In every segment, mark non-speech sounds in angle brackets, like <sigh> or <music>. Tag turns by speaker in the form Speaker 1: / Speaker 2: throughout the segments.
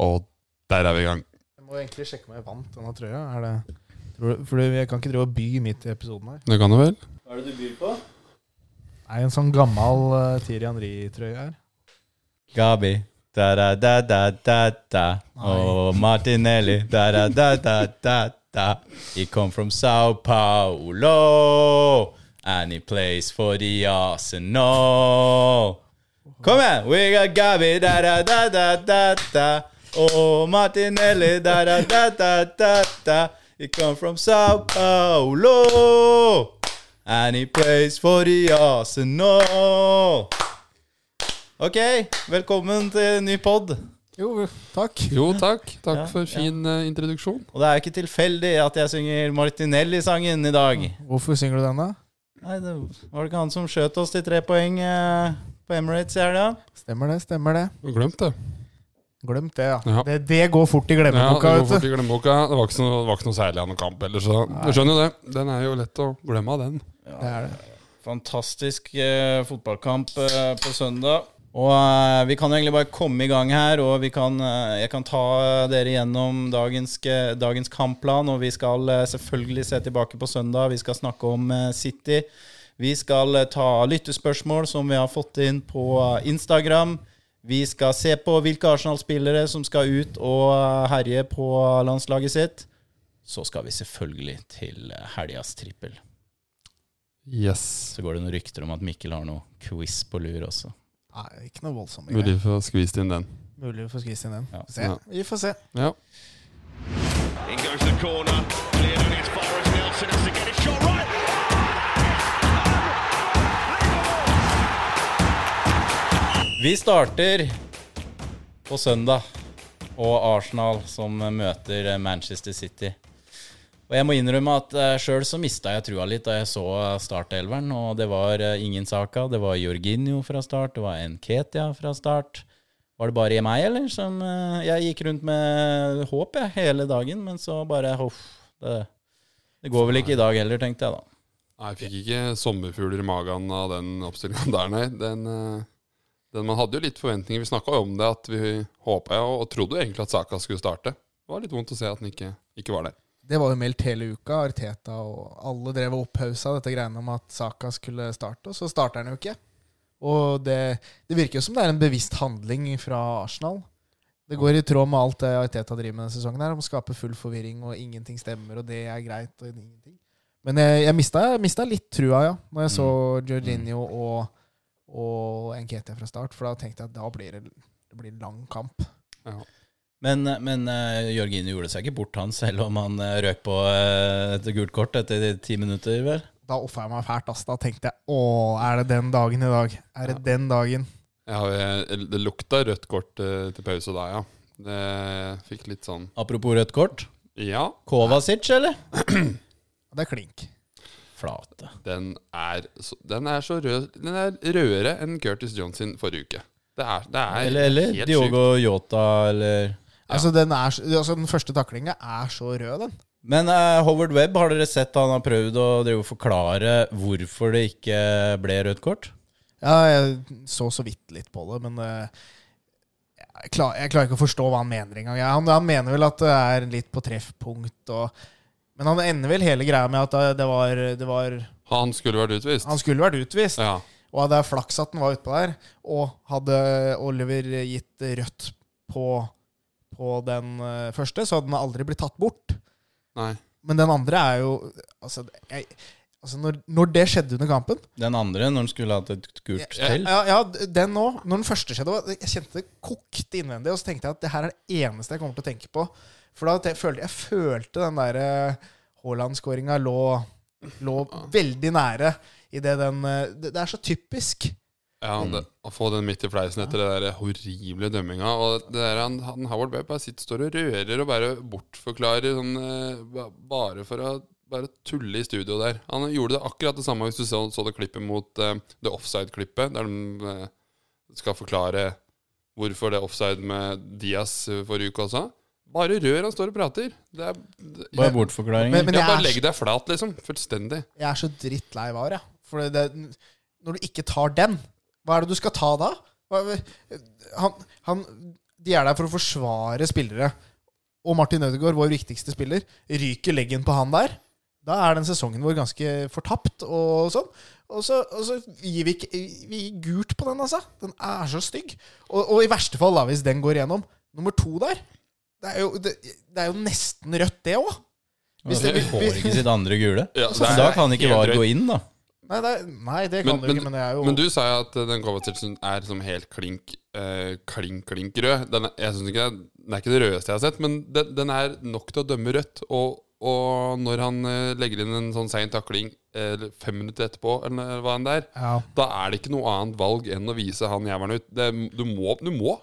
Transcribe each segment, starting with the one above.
Speaker 1: Og der er vi i gang.
Speaker 2: Jeg må egentlig sjekke om jeg vant denne trøya. Er det, tror du, for jeg kan ikke drive og by midt i episoden her.
Speaker 1: Det kan du vel?
Speaker 3: Hva er det du byr på?
Speaker 2: Nei, en sånn gammel uh, Tirian Rie-trøye her.
Speaker 3: Gabi. Da, da, da, da, da, da. Og Martinelli. Da, da, da, da, da, da. He come from Sao Paulo. And he plays for the Arsenal. Kom igjen! We got Gabi. Da, da, da, da, da, da. Og Martinelli. Da, da, da, da, da, da. He come from Sao Paulo. And he plays for the Arsenal. Ok, velkommen til en ny pod.
Speaker 2: Jo, takk.
Speaker 1: Jo, takk. Takk
Speaker 3: Ja,
Speaker 1: for
Speaker 3: ja.
Speaker 1: fin eh, introduksjon.
Speaker 3: Og det er jo ikke tilfeldig at jeg synger Martinelli-sangen i dag.
Speaker 2: Hvorfor synger du den, da?
Speaker 3: Nei, det Var det ikke han som skjøt oss til tre poeng eh, på Emirates i helga?
Speaker 2: Stemmer det, stemmer det.
Speaker 1: Du glemte det.
Speaker 2: Glemt det, ja.
Speaker 1: Ja.
Speaker 2: Det, det går fort i
Speaker 1: Ja, det
Speaker 2: glemmeboka,
Speaker 1: går fort
Speaker 2: vet du.
Speaker 1: i glemmeboka. Det var ikke noe, det var ikke noe særlig av noen kamp heller, så du skjønner jo det. Den er jo lett å glemme av, den.
Speaker 2: Det er det.
Speaker 3: Fantastisk eh, fotballkamp eh, på søndag. Og eh, vi kan jo egentlig bare komme i gang her, og vi kan, eh, jeg kan ta eh, dere gjennom dagens, eh, dagens kampplan. Og vi skal eh, selvfølgelig se tilbake på søndag. Vi skal snakke om eh, City. Vi skal eh, ta lyttespørsmål som vi har fått inn på eh, Instagram. Vi skal se på hvilke Arsenal-spillere som skal ut og eh, herje på landslaget sitt. Så skal vi selvfølgelig til eh, helgas trippel.
Speaker 1: Yes.
Speaker 3: Så går det noen rykter om at Mikkel har noe quiz på lur også.
Speaker 2: Nei, ikke noe voldsomt.
Speaker 1: Mulig for å skvise inn den.
Speaker 2: Mulig vi får skvise inn den.
Speaker 3: Ja.
Speaker 2: Se.
Speaker 1: Ja.
Speaker 2: Vi får se.
Speaker 1: Ja.
Speaker 4: In goes the corner. Cleared on as far as Nelson has to get it shot right.
Speaker 3: Vi starter på søndag, og Arsenal som møter Manchester City. Og jeg må innrømme at sjøl så mista jeg trua litt da jeg så eh, startelveren. Og det var eh, ingen Saka, det var Jorginho fra start, det var Nketia fra start. Var det bare meg, eller? Som, eh, jeg gikk rundt med håp jeg, hele dagen, men så bare Huff. Det, det går vel ikke i dag heller, tenkte jeg da.
Speaker 1: Nei, jeg fikk ikke sommerfugler i magen av den oppstillinga der, nei. Den, eh, den, man hadde jo litt forventninger. Vi snakka jo om det, at vi håpa jo og trodde jo egentlig at Saka skulle starte. Det var litt vondt å se at den ikke, ikke var der.
Speaker 2: Det var jo meldt hele uka. Arteta og alle drev og opphausa dette greiene om at Saka skulle starte, og så starter han jo ikke. Og det, det virker jo som det er en bevisst handling fra Arsenal. Det går i tråd med alt det Arteta driver med denne sesongen, her, om å skape full forvirring, og ingenting stemmer, og det er greit, og ingenting. Men jeg, jeg, mista, jeg mista litt trua, ja, når jeg så Jorginho og, og Nketia fra start, for da tenkte jeg at da blir det, det blir lang kamp.
Speaker 3: Men, men eh, Jorginho gjorde seg ikke bort, han, selv om han eh, røk på eh, et gult kort etter ti minutter, vel?
Speaker 2: da offa jeg meg fælt. Ass. Da tenkte jeg å, er det den dagen i dag? Er det den dagen?
Speaker 1: Jeg har, jeg- det lukta rødt kort eh, til pause der, ja. Det fikk litt sånn
Speaker 3: Apropos rødt kort.
Speaker 1: Ja,
Speaker 3: Kovacic, eller?
Speaker 2: Det er klink.
Speaker 3: Flate.
Speaker 1: den er så, den er så rød Den er rødere enn Curtis Johnson forrige uke. Det er, det er
Speaker 3: Eller, eller
Speaker 1: helt sjukt.
Speaker 3: Diogo Yota, eller
Speaker 2: Altså, den, er, så- altså, den første taklinga er så rød, den.
Speaker 3: Men eh, Howard Webb, har dere sett han har prøvd å drive og forklare hvorfor det ikke ble rødt kort?
Speaker 2: Ja, jeg så så vidt litt på det, men eh, jeg, klar, jeg klarer ikke å forstå hva han mener engang. Ja, han, han mener vel at det er litt på treffpunkt og Men han ender vel hele greia med at det var, det var
Speaker 1: Han skulle vært utvist.
Speaker 2: Han skulle vært utvist.
Speaker 1: Ja.
Speaker 2: Og det er flaks at den var utpå der. Og hadde Oliver gitt rødt på, på den eh, første, så hadde den aldri blitt tatt bort.
Speaker 1: Nei.
Speaker 2: Men den andre er jo Altså, jeg, altså når, når det skjedde under kampen
Speaker 3: Den andre, når han skulle hatt et gult til?
Speaker 2: ja, ja, den nå. Når den første skjedde, var- jeg kjente det kokte innvendig. Og så tenkte jeg at det her er det eneste jeg kommer til å tenke på. For da te- følte jeg følte den der eh, Haaland-skåringa lå, lå veldig nære. I det, den, eh, det, det er så typisk.
Speaker 1: Ja, det, å få den midt i fleisen etter det der horrible dømminga. Og det der han, han Howard Webb bare sitter står og rører og bare bortforklarer sånn eh, ba- bare for å bare tulle i studio der. Han gjorde det akkurat det samme hvis du så, så det klippet mot eh, det offside-klippet, der de eh, skal forklare hvorfor det er offside med Diaz eh, forrige uke også. Bare rør han står og prater. Det er, det,
Speaker 3: Bare bortforklaringer.
Speaker 2: Men- men
Speaker 1: ja,
Speaker 2: jeg
Speaker 1: bare
Speaker 2: er-
Speaker 1: legg deg flat, liksom. Fullstendig.
Speaker 2: Jeg er så drittlei VAR, jeg. For det, når du ikke tar den, hva er det du skal ta da? Hva, han, han De er der for å forsvare spillere. Og Martin Ødegaard, vår viktigste spiller, ryker leggen på han der. Da er den sesongen vår ganske fortapt og sånn. Og så, og så gir vi ikke vi gir gult på den, altså. Den er så stygg. Og, og i verste fall, da, hvis den går gjennom, nummer to der Det er jo, det, det er jo nesten rødt, det òg. Hvis
Speaker 1: det-
Speaker 3: Altså, Vi får ikke sitt andre gule.
Speaker 1: Ja,
Speaker 3: Så da kan ikke
Speaker 1: helt
Speaker 3: VAR
Speaker 1: drøyt.
Speaker 3: gå inn, da.
Speaker 2: Nei, det, er- nei, det kan
Speaker 1: Men,
Speaker 2: du ikke, men det er jo
Speaker 1: men du sa jo at eh, den Kovacic-en er som helt klink, eh, klink, klink rød. Den er, jeg synes ikke det, er- den er ikke det rødeste jeg har sett, men den, den er nok til å dømme rødt. Og, og når han eh, legger inn en sånn sein takling eh, fem minutter etterpå, eller hva enn det er,
Speaker 2: ja.
Speaker 1: da er det ikke noe annet valg enn å vise han jævelen ut. Det, du må. Du må.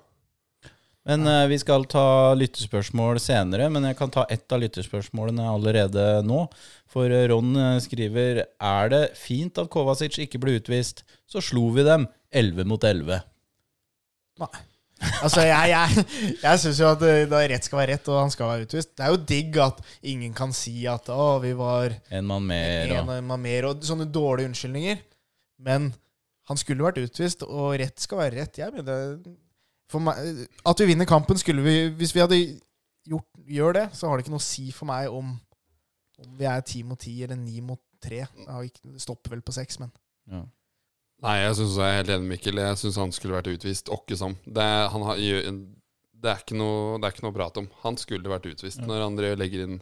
Speaker 3: Men eh, vi skal ta lyttespørsmål senere, men jeg kan ta ett av lyttespørsmålene allerede nå. For eh, Ron eh, skriver Er det fint at Kovacic ikke ble utvist, så slo vi dem 11 mot 11.
Speaker 2: Nei. Altså, jeg, jeg, jeg syns jo at eh, da rett skal være rett, og han skal være utvist. Det er jo digg at ingen kan si at 'å, vi var
Speaker 3: En mann mer,
Speaker 2: en
Speaker 3: og
Speaker 2: og en mann mer', og sånne dårlige unnskyldninger. Men han skulle vært utvist, og rett skal være rett. Jeg mener, for meg, at vi vinner kampen, skulle vi Hvis vi hadde gjort, gjør det, så har det ikke noe å si for meg om, om vi er ti mot ti eller ni mot tre. Det har ikke- det stopper vel på seks, men
Speaker 3: ja.
Speaker 1: Nei, jeg synes jeg er helt enig med Mikkel. Jeg synes han skulle vært utvist. Åkke som. Det, er- han har, gjør- det, er ikke noe, det er ikke noe å prate om. Han skulle vært utvist når andre legger inn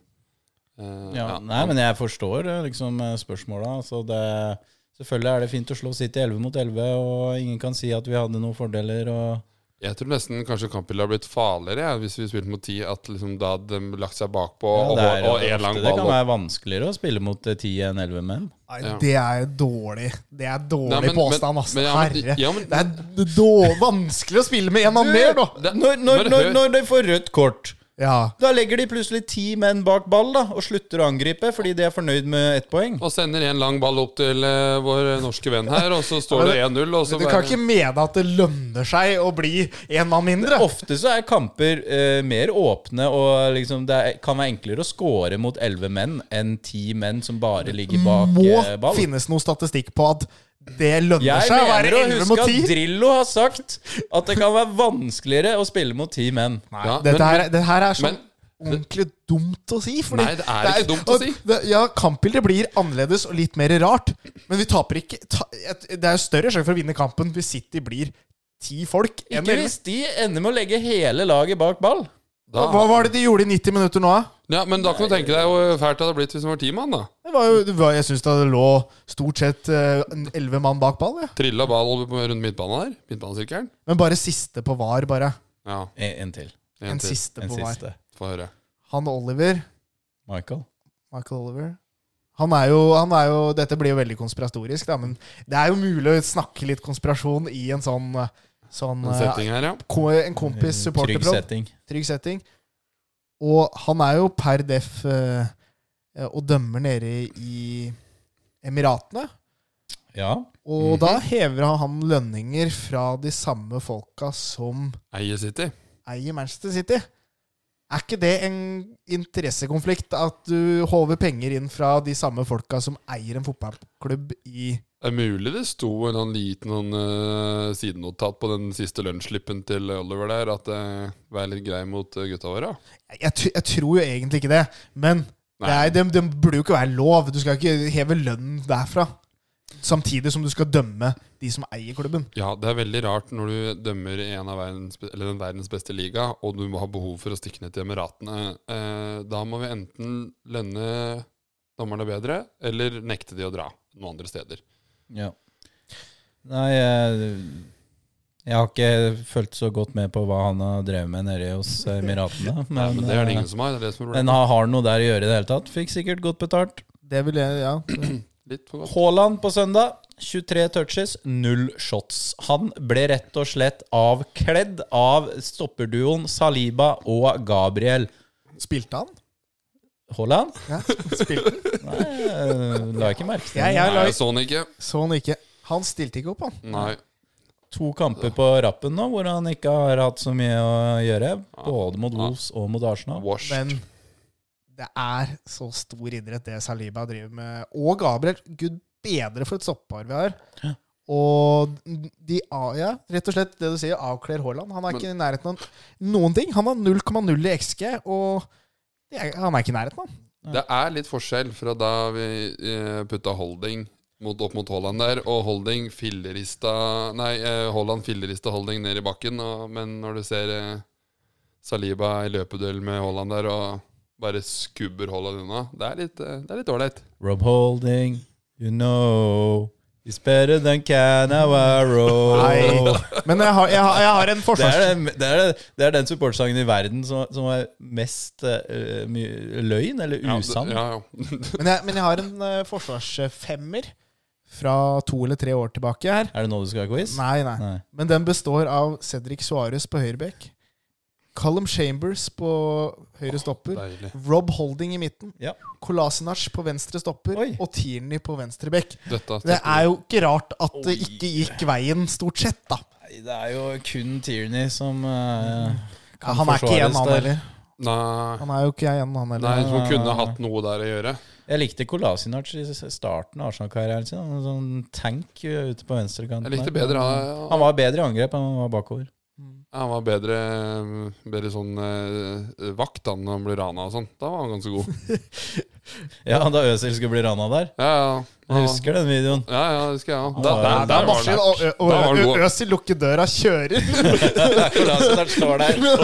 Speaker 1: eh,
Speaker 3: Ja,
Speaker 1: ja,
Speaker 3: nei, men jeg forstår eh, liksom eh, spørsmåla. Så det, selvfølgelig er det fint å slå City 11 mot 11, og ingen kan si at vi hadde noen fordeler. Og,
Speaker 1: Jeg tror nesten kanskje kampbildet har blitt farligere ja, hvis vi spilte mot ti. At liksom da hadde de lagt seg bakpå
Speaker 3: ja, det,
Speaker 1: og-
Speaker 3: er,
Speaker 1: og
Speaker 3: ofte
Speaker 1: én lang
Speaker 3: det
Speaker 1: ball.
Speaker 3: kan
Speaker 1: opp.
Speaker 3: være vanskeligere å spille mot eh, 10 enn 11 menn.
Speaker 2: Nei,
Speaker 1: Ja.
Speaker 2: det er dårlig. Det er dårlig
Speaker 1: Nei, men-
Speaker 2: påstand,
Speaker 1: men-
Speaker 2: ass.
Speaker 1: men ja, men-
Speaker 2: Herre.
Speaker 1: ja, men-
Speaker 2: det er d- dår- vanskelig å spille med en mann mer, da!
Speaker 1: Det-
Speaker 3: Når, når,
Speaker 1: men
Speaker 3: når,
Speaker 1: hør-
Speaker 3: når de får rødt kort
Speaker 2: Ja.
Speaker 3: Da legger de plutselig ti menn bak ball da, og slutter å angripe fordi de er fornøyd med ett poeng.
Speaker 1: Og sender en lang ball opp til eh, vår norske venn her, og så står
Speaker 2: <laughs>
Speaker 1: det 1-0. og så
Speaker 2: Du kan
Speaker 1: bare-
Speaker 2: ikke mene at det lønner seg å bli en mann mindre.
Speaker 3: Ofte så er kamper eh, mer åpne, og liksom det er, kan være enklere å score mot elleve menn enn ti menn som bare ligger bak
Speaker 2: Må
Speaker 3: eh, ball.
Speaker 2: finnes noe statistikk på at det lønner
Speaker 3: Jeg
Speaker 2: seg å være
Speaker 3: mener å
Speaker 2: 11 mot
Speaker 3: huske at
Speaker 2: 10.
Speaker 3: Drillo har sagt at det kan være vanskeligere å spille mot ti menn.
Speaker 2: Nei,
Speaker 1: Ja,
Speaker 2: dette,
Speaker 1: men-
Speaker 2: her, det her er sånn
Speaker 1: men-
Speaker 2: ordentlig dumt å si. fordi
Speaker 1: Nei, det er ikke dumt å
Speaker 2: og
Speaker 1: si.
Speaker 2: Det, ja, Kampbildet blir annerledes og litt mer rart, men vi taper ikke. Ta, det er jo større sjanse for å vinne kampen hvis City blir ti folk. enn
Speaker 3: Ikke
Speaker 2: elleve.
Speaker 3: hvis de ender med å legge hele laget bak ball.
Speaker 1: da,
Speaker 2: Hva var det de gjorde i 90 minutter nå? da?
Speaker 1: Ja, Men da kan du tenke deg hvor fælt det hadde blitt hvis det var ti mann. da
Speaker 2: Det var jo, det var, jeg syns det lå stort sett eh, elleve mann bak ball. Ja.
Speaker 1: Trilla ball over på- rundt midtbanen der. Midtbanesirkelen.
Speaker 2: Men bare siste på VAR, bare.
Speaker 1: Ja,
Speaker 3: En, en til.
Speaker 1: en,
Speaker 2: En
Speaker 1: til.
Speaker 2: siste
Speaker 3: En
Speaker 2: på VAR.
Speaker 3: siste.
Speaker 1: Få høre.
Speaker 2: Han Oliver,
Speaker 3: Michael.
Speaker 2: Michael Oliver han er, jo, han er jo Dette blir jo veldig konspiratorisk, da, men det er jo mulig å snakke litt konspirasjon i en sånn, eh, sånn
Speaker 1: En
Speaker 2: eh,
Speaker 1: setting her, ja.
Speaker 2: ko- En kompis
Speaker 3: Trygg
Speaker 2: supporterproff.
Speaker 3: setting.
Speaker 2: Trygg setting. Og han er jo per def eh, eh, og dømmer nede i Emiratene.
Speaker 3: Ja.
Speaker 2: Og da hever han lønninger fra de samme folka som
Speaker 1: Eier City.
Speaker 2: eier Manchester City. Er ikke det en interessekonflikt at du håver penger inn fra de samme folka som eier en fotballklubb i
Speaker 1: Det er mulig det sto en sånn liten sånn, eh, sidenotat på den siste lønnsslippen til Oliver der, at uh, vær litt grei mot eh, gutta våre. da.
Speaker 2: Jeg, tr- jeg tror jo egentlig ikke det, men det, er, det, det burde jo ikke være lov. Du skal ikke heve lønnen derfra. Samtidig som du skal dømme de som eier klubben.
Speaker 1: Ja, det er veldig rart når du dømmer i en av verdens, be- eller den verdens beste liga, og du må ha behov for å stikke ned til Emiratene. Eh, da må vi enten lønne dommerne bedre, eller nekte de å dra noen andre steder.
Speaker 3: Ja. Nei, jeg, jeg har ikke fulgt så godt med på hva han har drevet med nede
Speaker 1: <laughs>
Speaker 3: hos Emiratene. Men,
Speaker 1: Men det er det ingen som har. Det er det som er
Speaker 3: men
Speaker 1: problemet.
Speaker 3: han har noe der å gjøre i det hele tatt. Fikk sikkert godt betalt.
Speaker 2: Det vil jeg, ja.
Speaker 1: Litt for godt.
Speaker 3: Haaland på søndag. 23 touches, null shots. Han ble rett og slett avkledd av stopperduoen Saliba og Gabriel.
Speaker 2: Spilte han?
Speaker 3: Haaland?
Speaker 2: Ja, <laughs> spilte. han.
Speaker 3: Nei, jeg la ikke merke til
Speaker 2: Jeg, jeg,
Speaker 1: Nei,
Speaker 2: la-
Speaker 1: jeg så den ikke.
Speaker 2: så han ikke. Han stilte ikke opp, han.
Speaker 1: Nei.
Speaker 3: to kamper på rappen nå hvor han ikke har hatt så mye å gjøre. Både mot Wolves og mot Arsenal.
Speaker 1: Wash.
Speaker 2: Men det er så stor idrett det Saliba driver med. Og Gabriel. Gud bedre for et stoppeår vi har. Og de a- ja, rett og slett det du sier, avkler Haaland. Han er ikke i nærheten av noen ting. Han har 0,0 i XG, og det er, han er ikke i nærheten av han.
Speaker 1: Det er litt forskjell fra da vi eh, putta Holding mot, opp mot Haaland der, og Holding fillerista Nei, eh, Haaland fillerista Holding ned i bakken, og, men når du ser eh, Saliba i løpeduell med Haaland der og bare skubber Haaland unna, det er litt eh, det er litt ålreit.
Speaker 3: Rob Holding, you know He's better than Canavaro.
Speaker 2: Nei. Men jeg har, jeg har, jeg har en
Speaker 3: <laughs> Det
Speaker 2: forsvars...
Speaker 3: er, den- det, er, det er den supportsangen i verden som, som er mest eh, mye løgn, eller
Speaker 1: Ja,
Speaker 3: usann.
Speaker 1: det- Ja, ja.
Speaker 2: Men jeg, men jeg har en eh, forsvarsfemmer fra to eller tre år tilbake her.
Speaker 3: Er det nå du skal ha quiz?
Speaker 2: Nei, nei.
Speaker 3: Nei.
Speaker 2: Men den består av Cedric Suarez på høyrebekk. Callum Chambers på høyre stopper.
Speaker 1: Deilig.
Speaker 2: Rob Holding i midten.
Speaker 3: Ja.
Speaker 2: Kolasinac på venstre stopper.
Speaker 3: Oi.
Speaker 2: Og Tierney på venstre bekk.
Speaker 1: Dette,
Speaker 2: Det er jo ikke rart at det ikke gikk veien, stort sett, da.
Speaker 3: Nei, Det er jo kun Tierney som eh, kan
Speaker 2: han er ikke
Speaker 3: forsvares
Speaker 2: igjen, han
Speaker 3: der.
Speaker 2: heller.
Speaker 1: Nei,
Speaker 2: Han er jo ikke igjen, han
Speaker 1: nei,
Speaker 2: heller.
Speaker 1: som kunne hatt noe der å gjøre.
Speaker 3: Jeg likte Kolasinac i s- starten av Arsenal-karrieren sin. Han var en sånn tank eh, ute på venstrekanten.
Speaker 1: Jeg likte
Speaker 3: der.
Speaker 1: bedre han,
Speaker 3: Han var bedre i angrep enn han var bakover.
Speaker 1: Han var bedre, bedre sånn eh, vakt da når han ble rana og sånn. Da var han ganske god.
Speaker 3: Ja, da Øzil skulle bli rana der.
Speaker 1: Ja, ja.
Speaker 3: Jeg
Speaker 1: Han-
Speaker 3: husker den videoen.
Speaker 1: Ja, ja, det skal jeg ha.
Speaker 3: Da-
Speaker 2: Nei,
Speaker 3: der-
Speaker 2: det er maskin,
Speaker 1: han
Speaker 2: og,
Speaker 1: vært.
Speaker 2: og,
Speaker 1: Da var
Speaker 2: og,
Speaker 1: han god.
Speaker 2: Øsil lukker døra, kjører.
Speaker 3: Kolasinac står <laughs> der.
Speaker 1: Ja,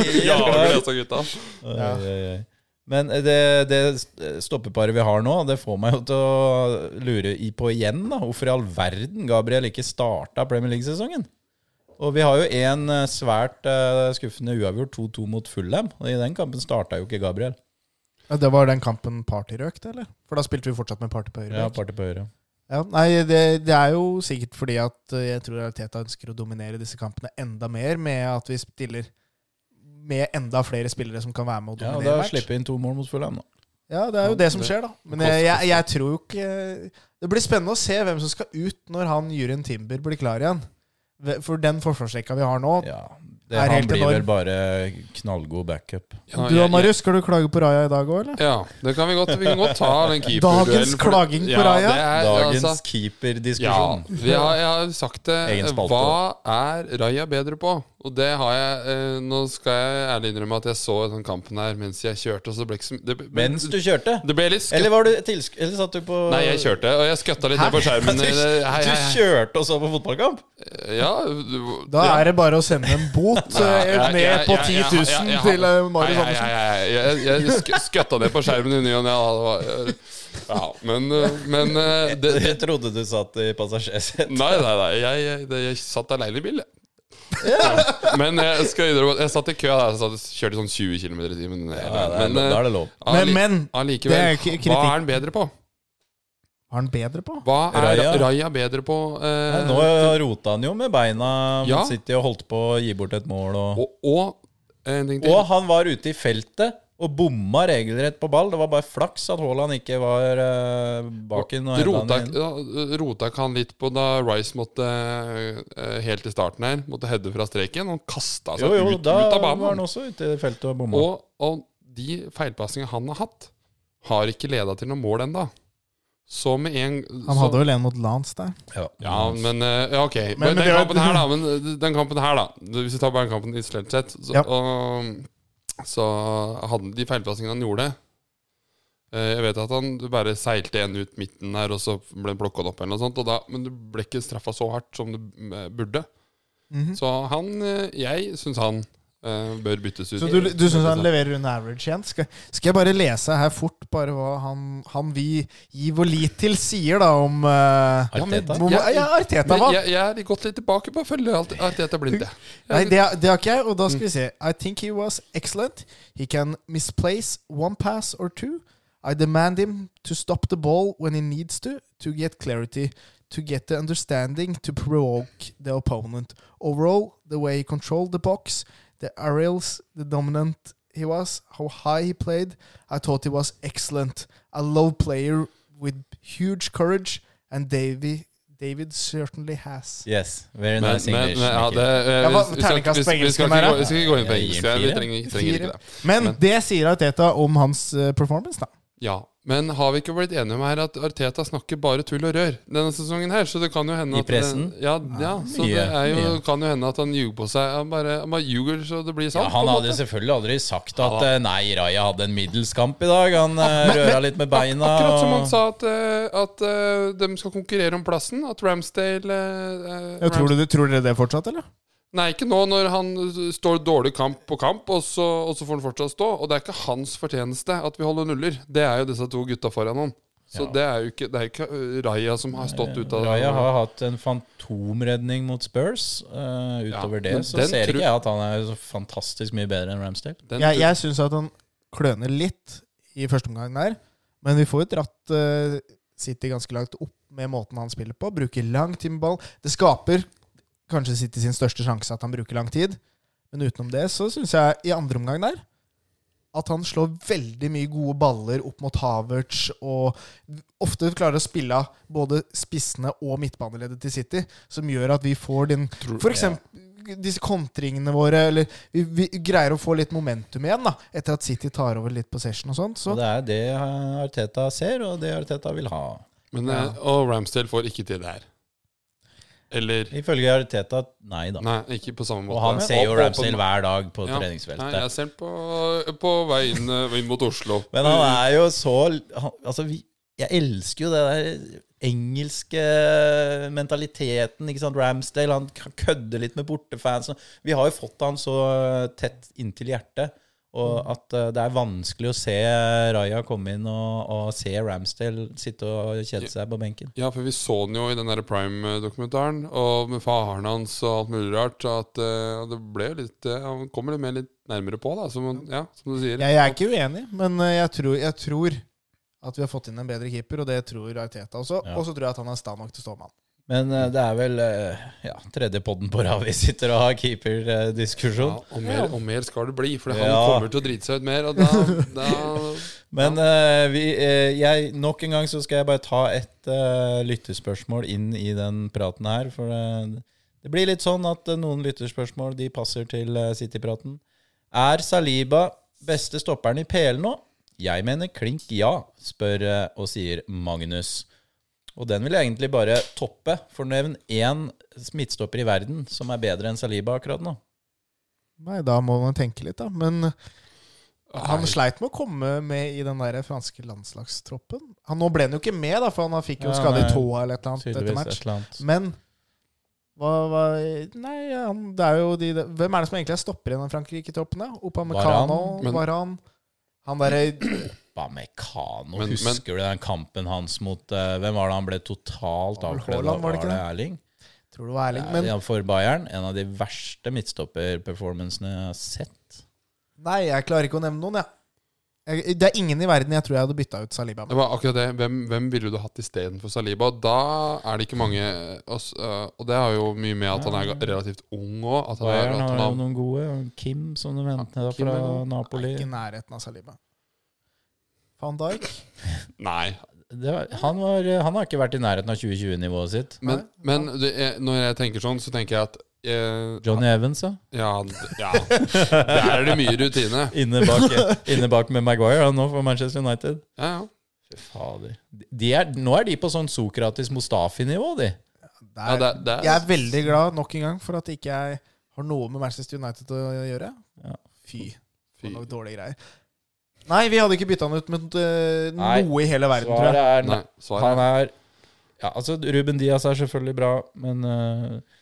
Speaker 1: vi
Speaker 3: altså,
Speaker 1: leser gutta.
Speaker 3: Oi, oi, oi. Men det, det stoppeparet vi har nå, det får meg jo til å lure i på igjen. da Hvorfor i all verden Gabriel ikke starta Premier League-sesongen? Og vi har jo en eh, svært eh, skuffende uavgjort 2-2 mot Fulham. Og i den kampen starta jo ikke Gabriel.
Speaker 2: Ja, det var den kampen Party røk, det, eller? For da spilte vi fortsatt med Party på høyre.
Speaker 3: Ja,
Speaker 2: bekk.
Speaker 3: party på høyre.
Speaker 2: Ja, nei, det, det er jo sikkert fordi at eh, jeg tror Teta ønsker å dominere disse kampene enda mer med at vi stiller med enda flere spillere som kan være med og
Speaker 3: Ja, og
Speaker 2: dominere
Speaker 3: da
Speaker 2: match.
Speaker 3: slipper vi inn to mål mot Fulham, da.
Speaker 2: Ja, det er jo det som skjer, da. Men
Speaker 1: Det koster
Speaker 2: jeg, jeg, jeg tror jo ikke eh, Det blir spennende å se hvem som skal ut når han Juryen Timber blir klar igjen. Ve- For den forsvarsrekka vi har nå
Speaker 3: Ja,
Speaker 2: Er
Speaker 3: det, han
Speaker 2: helt
Speaker 3: blir
Speaker 2: enorm.
Speaker 3: vel bare knallgod backup.
Speaker 1: Ja,
Speaker 2: Du da,
Speaker 1: jeg-
Speaker 2: Marius, skal du klage på Raja i dag òg, eller?
Speaker 1: Ja, det kan vi godt. Vi kan godt ta den keeperduellen.
Speaker 2: Dagens
Speaker 1: for-
Speaker 2: klaging på Raja.
Speaker 1: Ja, det er,
Speaker 3: Dagens
Speaker 1: altså, ja,
Speaker 3: keeperdiskusjon.
Speaker 1: vi har, jeg har sagt det. eh,
Speaker 3: Egen spalte.
Speaker 1: Hva er Raja bedre på? Og det har jeg eh, Nå skal jeg ærlig innrømme at jeg så den kampen her mens jeg kjørte, og så ble ikke så det, ble-
Speaker 3: Mens du kjørte?
Speaker 1: det ble litt
Speaker 3: Eller,
Speaker 1: skutt.
Speaker 3: var du tilsk eller satt du på
Speaker 1: Nei, jeg kjørte, og jeg skøtta litt ned på skjermen.
Speaker 3: <laughs> Du,
Speaker 1: eh, Hei, hei,
Speaker 3: du
Speaker 1: hei.
Speaker 3: kjørte og så på fotballkamp?
Speaker 1: Ja, du-
Speaker 2: Da
Speaker 1: ja.
Speaker 2: er det bare å sende en bot eh,
Speaker 1: Ja, ja,
Speaker 2: ned på
Speaker 1: ja, ja,
Speaker 2: 10
Speaker 1: ja, ja,
Speaker 2: 000
Speaker 1: ja, ja.
Speaker 2: til eh, Marius
Speaker 1: Nei,
Speaker 2: Andersen.
Speaker 1: nei, nei, nei, Jeg, jeg sk skøtta ned på skjermen i ny og ne. ja, det var- Ja, men, eh, men eh, det,
Speaker 3: Jeg trodde du satt i
Speaker 1: <laughs>
Speaker 3: passasjersetet.
Speaker 1: Nei, nei, nei. Jeg, jeg, det- jeg satt alene i bil, jeg. Men jeg skal innrømme at jeg satt i kø. da. Jeg satt, kjørte sånn 20 km i timen.
Speaker 3: Ja, det er
Speaker 1: Men,
Speaker 3: lov- da
Speaker 1: eh,
Speaker 3: er det lov.
Speaker 1: alli-
Speaker 2: Men- men, det er
Speaker 1: allikevel,
Speaker 2: ikke kritikk.
Speaker 1: hva er han bedre på?
Speaker 2: Har han bedre på?
Speaker 1: Hva er
Speaker 3: Raja.
Speaker 1: Raja, bedre på?
Speaker 3: Nei,
Speaker 1: eh,
Speaker 3: Nå rota han jo med beina
Speaker 1: Ja.
Speaker 3: mot City og holdt på å gi bort et mål. Og,
Speaker 1: og, og en ting til.
Speaker 3: og han var ute i feltet og bomma regelrett på ball. Det var bare flaks at Haaland ikke var eh, bak inn. og hentet
Speaker 1: Rota,
Speaker 3: han inn.
Speaker 1: ja, rota ikke han litt på da Rice måtte eh, helt i starten her Måtte heade fra streken. Han kasta seg
Speaker 3: Jo, jo,
Speaker 1: altså, ut,
Speaker 3: da
Speaker 1: ut av
Speaker 3: var han
Speaker 1: banen.
Speaker 3: også ute i feltet og bomma.
Speaker 1: Og, og de feilpasningene han har hatt, har ikke leda til noe mål ennå. Så med en
Speaker 2: Han
Speaker 1: så,
Speaker 2: hadde vel en mot Lance der.
Speaker 1: Ja, men eh, Ja, ok. Men, den,
Speaker 2: men det er-
Speaker 1: kampen
Speaker 2: <laughs>
Speaker 1: her, da, men eh, den kampen her, da Hvis vi tar bare den kampen isolert sett, så,
Speaker 2: Ja.
Speaker 1: og, så hadde han de feilpasningene han gjorde eh, Jeg vet at han bare seilte en ut midten her, og så ble han plukka opp, eller noe sånt. Og da, men det ble ikke straffa så hardt som det eh, burde.
Speaker 2: Mhm.
Speaker 1: Så han eh, Jeg syns han eh, bør byttes ut.
Speaker 2: Så du, du syns han leverer under average igjen? Skal, skal jeg bare lese her fort bare hva han, han vi gir vår lit til, sier da om eh,
Speaker 1: Ja, men-
Speaker 3: Arteta?
Speaker 2: hvor-
Speaker 1: Ja,
Speaker 2: Ja, Arteta,
Speaker 1: Men
Speaker 2: hva?
Speaker 1: jeg, jeg er gått litt tilbake på å følge alt, alt dette blindt, jeg.
Speaker 2: Nei, det, det har ikke jeg, og da skal vi se. I think he was excellent. He can misplace one pass or two. I demand him to stop the ball when he needs to, to get clarity, to get the understanding, to provoke the opponent. Overall, the way he controlled the box, the aerials, the dominant he was, how high he played, I thought he was excellent. A low player with huge courage, and Davy, David certainly has.
Speaker 3: Yes, very
Speaker 1: Men,
Speaker 3: nice
Speaker 1: men,
Speaker 3: English.
Speaker 1: men ja,
Speaker 3: Mikkel.
Speaker 1: det, eh,
Speaker 2: Ja, hva-
Speaker 1: vi, vi, skal, ikke-
Speaker 2: terningkast
Speaker 1: vi,
Speaker 2: på
Speaker 1: vi,
Speaker 2: engelsk
Speaker 1: skal
Speaker 2: kan
Speaker 1: ikke
Speaker 2: være?
Speaker 1: gå, vi skal ikke gå inn på
Speaker 3: Jeg gir
Speaker 1: engelsk.
Speaker 3: en
Speaker 1: Vi
Speaker 3: fire.
Speaker 1: trenger, trenger ikke
Speaker 2: Fire.
Speaker 1: det.
Speaker 2: Men
Speaker 1: Men-
Speaker 2: det sier Arteta om hans eh, performance, da.
Speaker 1: Ja, Men har vi ikke blitt enige om her at Arteta snakker bare tull og rør denne sesongen her? Så det kan jo hende
Speaker 3: I
Speaker 1: at
Speaker 3: pressen?
Speaker 1: Det, ja, ja,
Speaker 2: Ah,
Speaker 1: så det
Speaker 3: Mye,
Speaker 1: er jo,
Speaker 3: mye.
Speaker 1: kan jo hende at han ljuger på seg. Han bare, han bare ljuger så det blir sant.
Speaker 3: Ja, han
Speaker 1: på en
Speaker 3: hadde
Speaker 1: måte.
Speaker 3: selvfølgelig aldri sagt at
Speaker 1: Ja.
Speaker 3: eh, nei, Raja hadde en middels kamp i dag. Han eh, røra litt med beina.
Speaker 1: Akkurat som han
Speaker 3: og-
Speaker 1: sa at, eh, at eh, de skal konkurrere om plassen. At Ramsdale eh, eh,
Speaker 2: Ja, tror, du, tror dere det fortsatt, eller?
Speaker 1: Nei, ikke nå når han uh, står dårlig kamp på kamp, og så, og så får han fortsatt stå. Og det er ikke hans fortjeneste at vi holder nuller. Det er jo disse to gutta foran han. Så
Speaker 3: Ja.
Speaker 1: det er jo ikke, det er ikke uh, Raja som har stått ut av
Speaker 3: Raja har hatt en fantomredning mot Spurs. Eh, utover
Speaker 1: Ja,
Speaker 3: det
Speaker 1: men
Speaker 3: så
Speaker 1: den
Speaker 3: ser
Speaker 1: tror-
Speaker 3: ikke jeg at han er så fantastisk mye bedre enn Ramsdale.
Speaker 1: Den,
Speaker 2: Jeg, jeg syns at han kløner litt i første omgang der. Men vi får jo dratt eh, City ganske langt opp med måten han spiller på. Bruker lang tid med ball. Det skaper kanskje City sin største sjanse at han bruker lang tid. Men utenom det så syns jeg i andre omgang der at han slår veldig mye gode baller opp mot Havertz og ofte klarer å spille av både spissene og midtbaneleddet til City, som gjør at vi får den
Speaker 1: Tror-
Speaker 2: For eksempel disse kontringene våre, eller vi, vi greier å få litt momentum igjen da etter at City tar over litt possession og sånt. Så
Speaker 3: Og det er det eh, Arteta ser, og det Arteta vil ha.
Speaker 1: men, uh, Og Ramsdale får ikke til det her. Eller
Speaker 3: Ifølge Arteta nei, da.
Speaker 1: Nei, ikke på samme måte.
Speaker 3: Og han ser jo
Speaker 1: Åpen-
Speaker 3: Ramsdale hver dag på
Speaker 1: Ja. Nei,
Speaker 3: treningsfeltet.
Speaker 1: jeg ser på, på vei inn, uh, inn mot Oslo.
Speaker 3: <laughs> Men han
Speaker 1: Mm.
Speaker 3: er jo så han, Altså, vi, jeg elsker jo det der engelske mentaliteten. ikke sant? Ramsdale han k- kødder litt med bortefansen. Vi har jo fått han så eh, tett inntil hjertet. Og at eh, det er vanskelig å se Raja komme inn og, og se Ramsdale sitte og kjede seg på benken.
Speaker 1: Ja, for vi så den jo i den der Prime-dokumentaren, og med faren hans og alt mulig rart. At eh, det ble jo litt eh, Han kommer litt mer litt nærmere på, da, som, han- ja, som du sier.
Speaker 2: jeg, jeg er ikke uenig, men eh, jeg tror, jeg tror at vi har fått inn en bedre keeper, og det tror Arteta også.
Speaker 3: Ja.
Speaker 2: Og så tror jeg at han er sta nok til å stå med han.
Speaker 3: Men eh, det er vel eh, ja, tredje podden på rad vi sitter og har eh, keeperdiskusjon.
Speaker 1: Ja, og, mer, og mer skal det bli, for han
Speaker 3: Ja.
Speaker 1: kommer til å drite seg ut mer. Og da, da
Speaker 3: <laughs> Men eh, vi, eh, jeg, nok en gang så skal jeg bare ta et eh, lyttespørsmål inn i den praten her. For det, det blir litt sånn at eh, noen lyttespørsmål de passer til eh, City-praten. Er Saliba beste stopperen i PL nå? Jeg mener klink ja, spør eh, og sier Magnus. Og den vil jeg egentlig bare toppe, for nevn én midtstopper i verden som er bedre enn Saliba akkurat nå.
Speaker 2: Nei, da må man tenke litt, da. Men han
Speaker 1: Nei.
Speaker 2: sleit med å komme med i den der franske landslagstroppen. Han, nå ble han jo ikke med, da, for han fikk jo
Speaker 3: Ja,
Speaker 2: skade i
Speaker 3: nei.
Speaker 2: tåa eller et eller annet etter
Speaker 3: Tydeligvis
Speaker 2: match.
Speaker 3: et eller annet.
Speaker 2: Men hva, hva Nei, han, det er jo de Hvem er det som egentlig er stopper i den Frankrike-troppen? da? Opamecano,
Speaker 1: Varane. Men-
Speaker 2: Varan Han derre
Speaker 3: Upamecano.
Speaker 1: Men-
Speaker 3: Husker du den kampen hans mot eh, Hvem var det han ble totalt
Speaker 2: Var det
Speaker 3: avkledd av?
Speaker 2: Haaland, var det
Speaker 3: Var det
Speaker 2: ikke det?
Speaker 3: Erling?
Speaker 2: Tror det var Erling, men
Speaker 3: Ja, For Bayern, en av de verste midtstopperperformancene jeg har sett.
Speaker 2: Nei, jeg klarer ikke å nevne noen, jeg. jeg. Det er ingen i verden jeg tror jeg hadde bytta ut Saliba
Speaker 1: Det
Speaker 2: med.
Speaker 1: var akkurat det. Hvem, hvem ville du hatt istedenfor Saliba? Og Da er det ikke mange Og, s- øh, og det har jo mye med at han er ga- relativt ung òg. At han er
Speaker 3: Bayern
Speaker 1: at
Speaker 3: har
Speaker 1: han
Speaker 3: jo
Speaker 1: har-
Speaker 3: noen gode. Kim, som du henta
Speaker 1: Kim
Speaker 3: fra
Speaker 1: er god.
Speaker 3: Napoli.
Speaker 2: Ikke i nærheten av Saliba. Van Dijk?
Speaker 1: Nei.
Speaker 3: Det var, han, var, eh, han har ikke vært i nærheten av 2020-nivået sitt.
Speaker 1: Men, men det er, når jeg tenker sånn, så tenker jeg at eh,
Speaker 3: Johnny Evans, ja.
Speaker 1: ja, d- ja. Der er det mye rutine.
Speaker 3: Inne bak,
Speaker 2: <laughs>
Speaker 3: inne bak med Maguire han nå for Manchester United.
Speaker 1: Ja, ja.
Speaker 3: Fy fader. De er, nå er de på sånn Sokratis Mustafi-nivå, de.
Speaker 2: Det
Speaker 1: Ja,
Speaker 2: er,
Speaker 1: det, det
Speaker 2: jeg er veldig glad nok en gang for at ikke jeg har noe med Manchester United å gjøre.
Speaker 3: Ja.
Speaker 2: Fy.
Speaker 1: Fy.
Speaker 2: Det var nok dårlige greier. Nei, vi hadde ikke bytta han ut med eh,
Speaker 3: Nei.
Speaker 2: noe i hele verden, tror jeg.
Speaker 3: Svaret er
Speaker 1: Nei, svaret
Speaker 3: Han er ja, altså Ruben Diaz er selvfølgelig bra, men eh,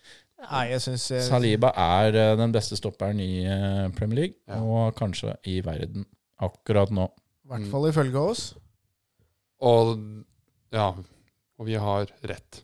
Speaker 2: Nei, jeg synes, eh,
Speaker 3: Saliba er eh, den beste stopperen i eh, Premier League,
Speaker 1: Ja.
Speaker 3: og kanskje i verden akkurat nå.
Speaker 2: I hvert fall ifølge oss.
Speaker 1: Og ja. Og vi har rett.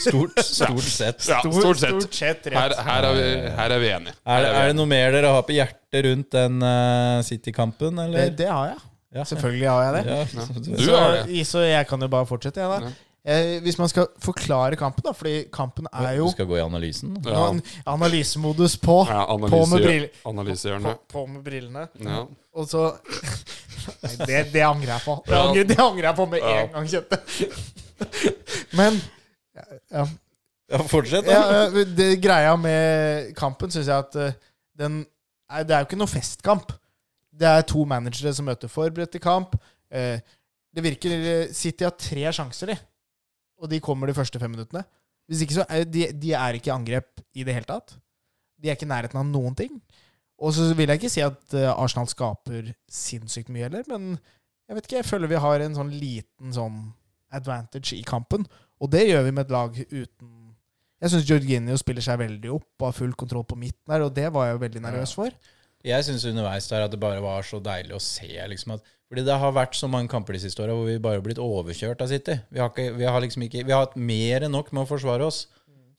Speaker 2: <laughs>
Speaker 3: Stort, stort sett.
Speaker 1: Ja, stort sett.
Speaker 2: Stort sett
Speaker 1: Her,
Speaker 2: rett.
Speaker 1: her, er, vi, her er vi enige.
Speaker 3: Er,
Speaker 1: Her
Speaker 3: det-
Speaker 1: vi
Speaker 3: er
Speaker 1: enige.
Speaker 3: det noe mer dere har på hjertet rundt den eh, City-kampen,
Speaker 2: Det,
Speaker 3: eller?
Speaker 2: det har jeg.
Speaker 3: Ja.
Speaker 2: Selvfølgelig har jeg det.
Speaker 3: <laughs> Ja.
Speaker 1: Du
Speaker 2: så,
Speaker 1: har
Speaker 2: så jeg kan jo bare fortsette, jeg, da. Eh, hvis man skal forklare kampen, da, fordi kampen er jo
Speaker 3: Du skal gå i analysen?
Speaker 1: Ja.
Speaker 2: Nå er den analysemodus på.
Speaker 1: Ja,
Speaker 2: På med
Speaker 1: analyse,
Speaker 2: briller. På,
Speaker 1: analysehjørnet.
Speaker 2: på med brillene.
Speaker 1: Ja.
Speaker 2: Og så Nei, det, det angrer jeg på. Det
Speaker 1: Ja.
Speaker 2: angrer, det angrer jeg på med
Speaker 1: Ja.
Speaker 2: en gang, kjente Men ja,
Speaker 3: Ja, fortsett,
Speaker 2: ja,
Speaker 3: da.
Speaker 2: eh, det greia med kampen syns jeg at eh, den nei, Det er jo ikke noe festkamp. Det er to managere som møter forberedt til kamp. Eh, Det virker City har tre sjanser, de. Og de kommer de første fem minuttene. Hvis ikke så er de, de er ikke i angrep i det hele tatt. De er ikke i nærheten av noen ting. Og så vil jeg ikke si at eh, Arsenal skaper sinnssykt mye heller, men jeg vet ikke, jeg føler vi har en sånn liten sånn advantage i kampen. Og det gjør vi med et lag uten Jeg syns Jorginho spiller seg veldig opp, har full kontroll på midten her, og det var jeg jo veldig nervøs for.
Speaker 3: Jeg syns underveis der at det bare var så deilig å se. liksom at, Fordi det har vært så mange kamper de siste åra hvor vi bare har blitt overkjørt av City. Vi har, ikke, vi har liksom ikke Vi har hatt mer enn nok med å forsvare oss.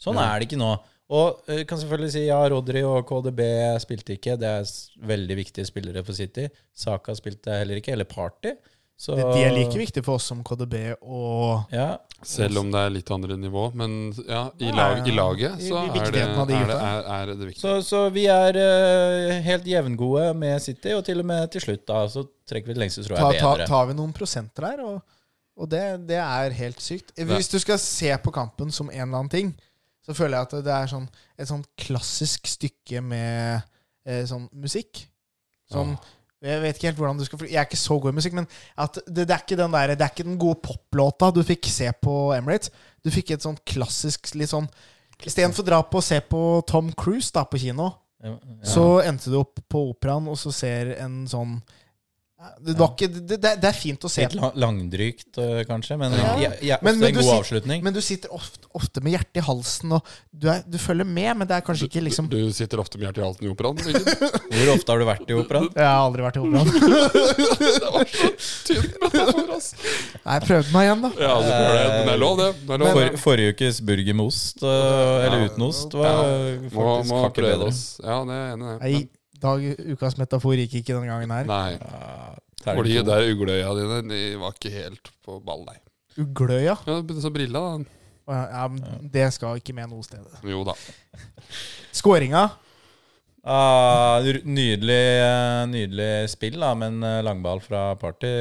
Speaker 3: Sånn er det ikke nå. Og eh, kan selvfølgelig si ja, Rodri og KDB spilte ikke. Det er s- veldig viktige spillere for City. Saka spilte heller ikke, eller Party. Så,
Speaker 2: De de er like viktige for oss som KDB og
Speaker 3: Ja,
Speaker 1: Selv om det er litt andre nivå. Men ja, i,
Speaker 2: Ja,
Speaker 1: lag, i
Speaker 2: ja.
Speaker 1: laget
Speaker 2: I-
Speaker 1: så
Speaker 2: i
Speaker 1: er det,
Speaker 2: viktigheten av de
Speaker 1: er, det,
Speaker 2: gutta.
Speaker 1: er, er det viktig.
Speaker 3: Så, så vi er eh, helt jevngode med City, og til og med til slutt da, så trekker vi det lengste, tror
Speaker 2: ta,
Speaker 3: jeg,
Speaker 2: ta,
Speaker 3: bedre.
Speaker 2: tar vi noen prosenter her, og, og det, det er helt sykt. Hvis du skal se på kampen som en eller annen ting, så føler jeg at det er sånn, et sånn klassisk stykke med eh, sånn musikk. Sånn, Jeg vet ikke helt hvordan du skal for Jeg er ikke så god i musikk, men at det, det, er ikke den der, det er ikke den gode poplåta du fikk se på Emirates. Du fikk et sånn klassisk litt sånn Istedenfor å dra på og se på Tom Cruise da på kino,
Speaker 3: Ja.
Speaker 2: så endte du opp på operaen, og så ser en sånn Det, var ikke, det, det, det er fint å se
Speaker 3: Litt la- langdrygt, eh, kanskje, men ja. Ja,
Speaker 2: Men- men
Speaker 3: ofte en
Speaker 2: du
Speaker 3: god
Speaker 2: sit-
Speaker 3: avslutning.
Speaker 2: Men du sitter ofte, ofte med hjertet i halsen, og du, er, du følger med, men det er kanskje ikke liksom
Speaker 1: Du du sitter ofte med hjertet i halsen i operaen.
Speaker 2: <laughs>
Speaker 1: Birgit.
Speaker 3: Hvor ofte har du vært i operaen?
Speaker 2: Jeg har aldri vært i
Speaker 1: <laughs>
Speaker 2: operaen.
Speaker 1: Det var så tynt med det for oss.
Speaker 2: Nei, jeg prøvde meg igjen, da.
Speaker 1: <laughs> Ja, du prøver det. Men det er lov, det. det er lov.
Speaker 3: For, forrige ukes burger med ost, eh, eller uten ost, var faktisk
Speaker 1: må, må
Speaker 3: hakket
Speaker 1: prøve
Speaker 3: bedre.
Speaker 1: oss. Ja, det er jeg enig i.
Speaker 2: Nei, dag, ukas metafor gikk ikke denne gangen her.
Speaker 1: Nei. For de
Speaker 3: Terning to.
Speaker 1: der ugleøya dine de var ikke helt på ball, nei.
Speaker 2: Ugløya.
Speaker 1: Ja, det begynte så brilla, da.
Speaker 2: Å, Ja, ja, men det skal ikke med noe sted.
Speaker 1: Jo da.
Speaker 2: Skåringa.
Speaker 3: Ah, r- nydelig, eh, nydelig spill, da, men eh, langball fra Party.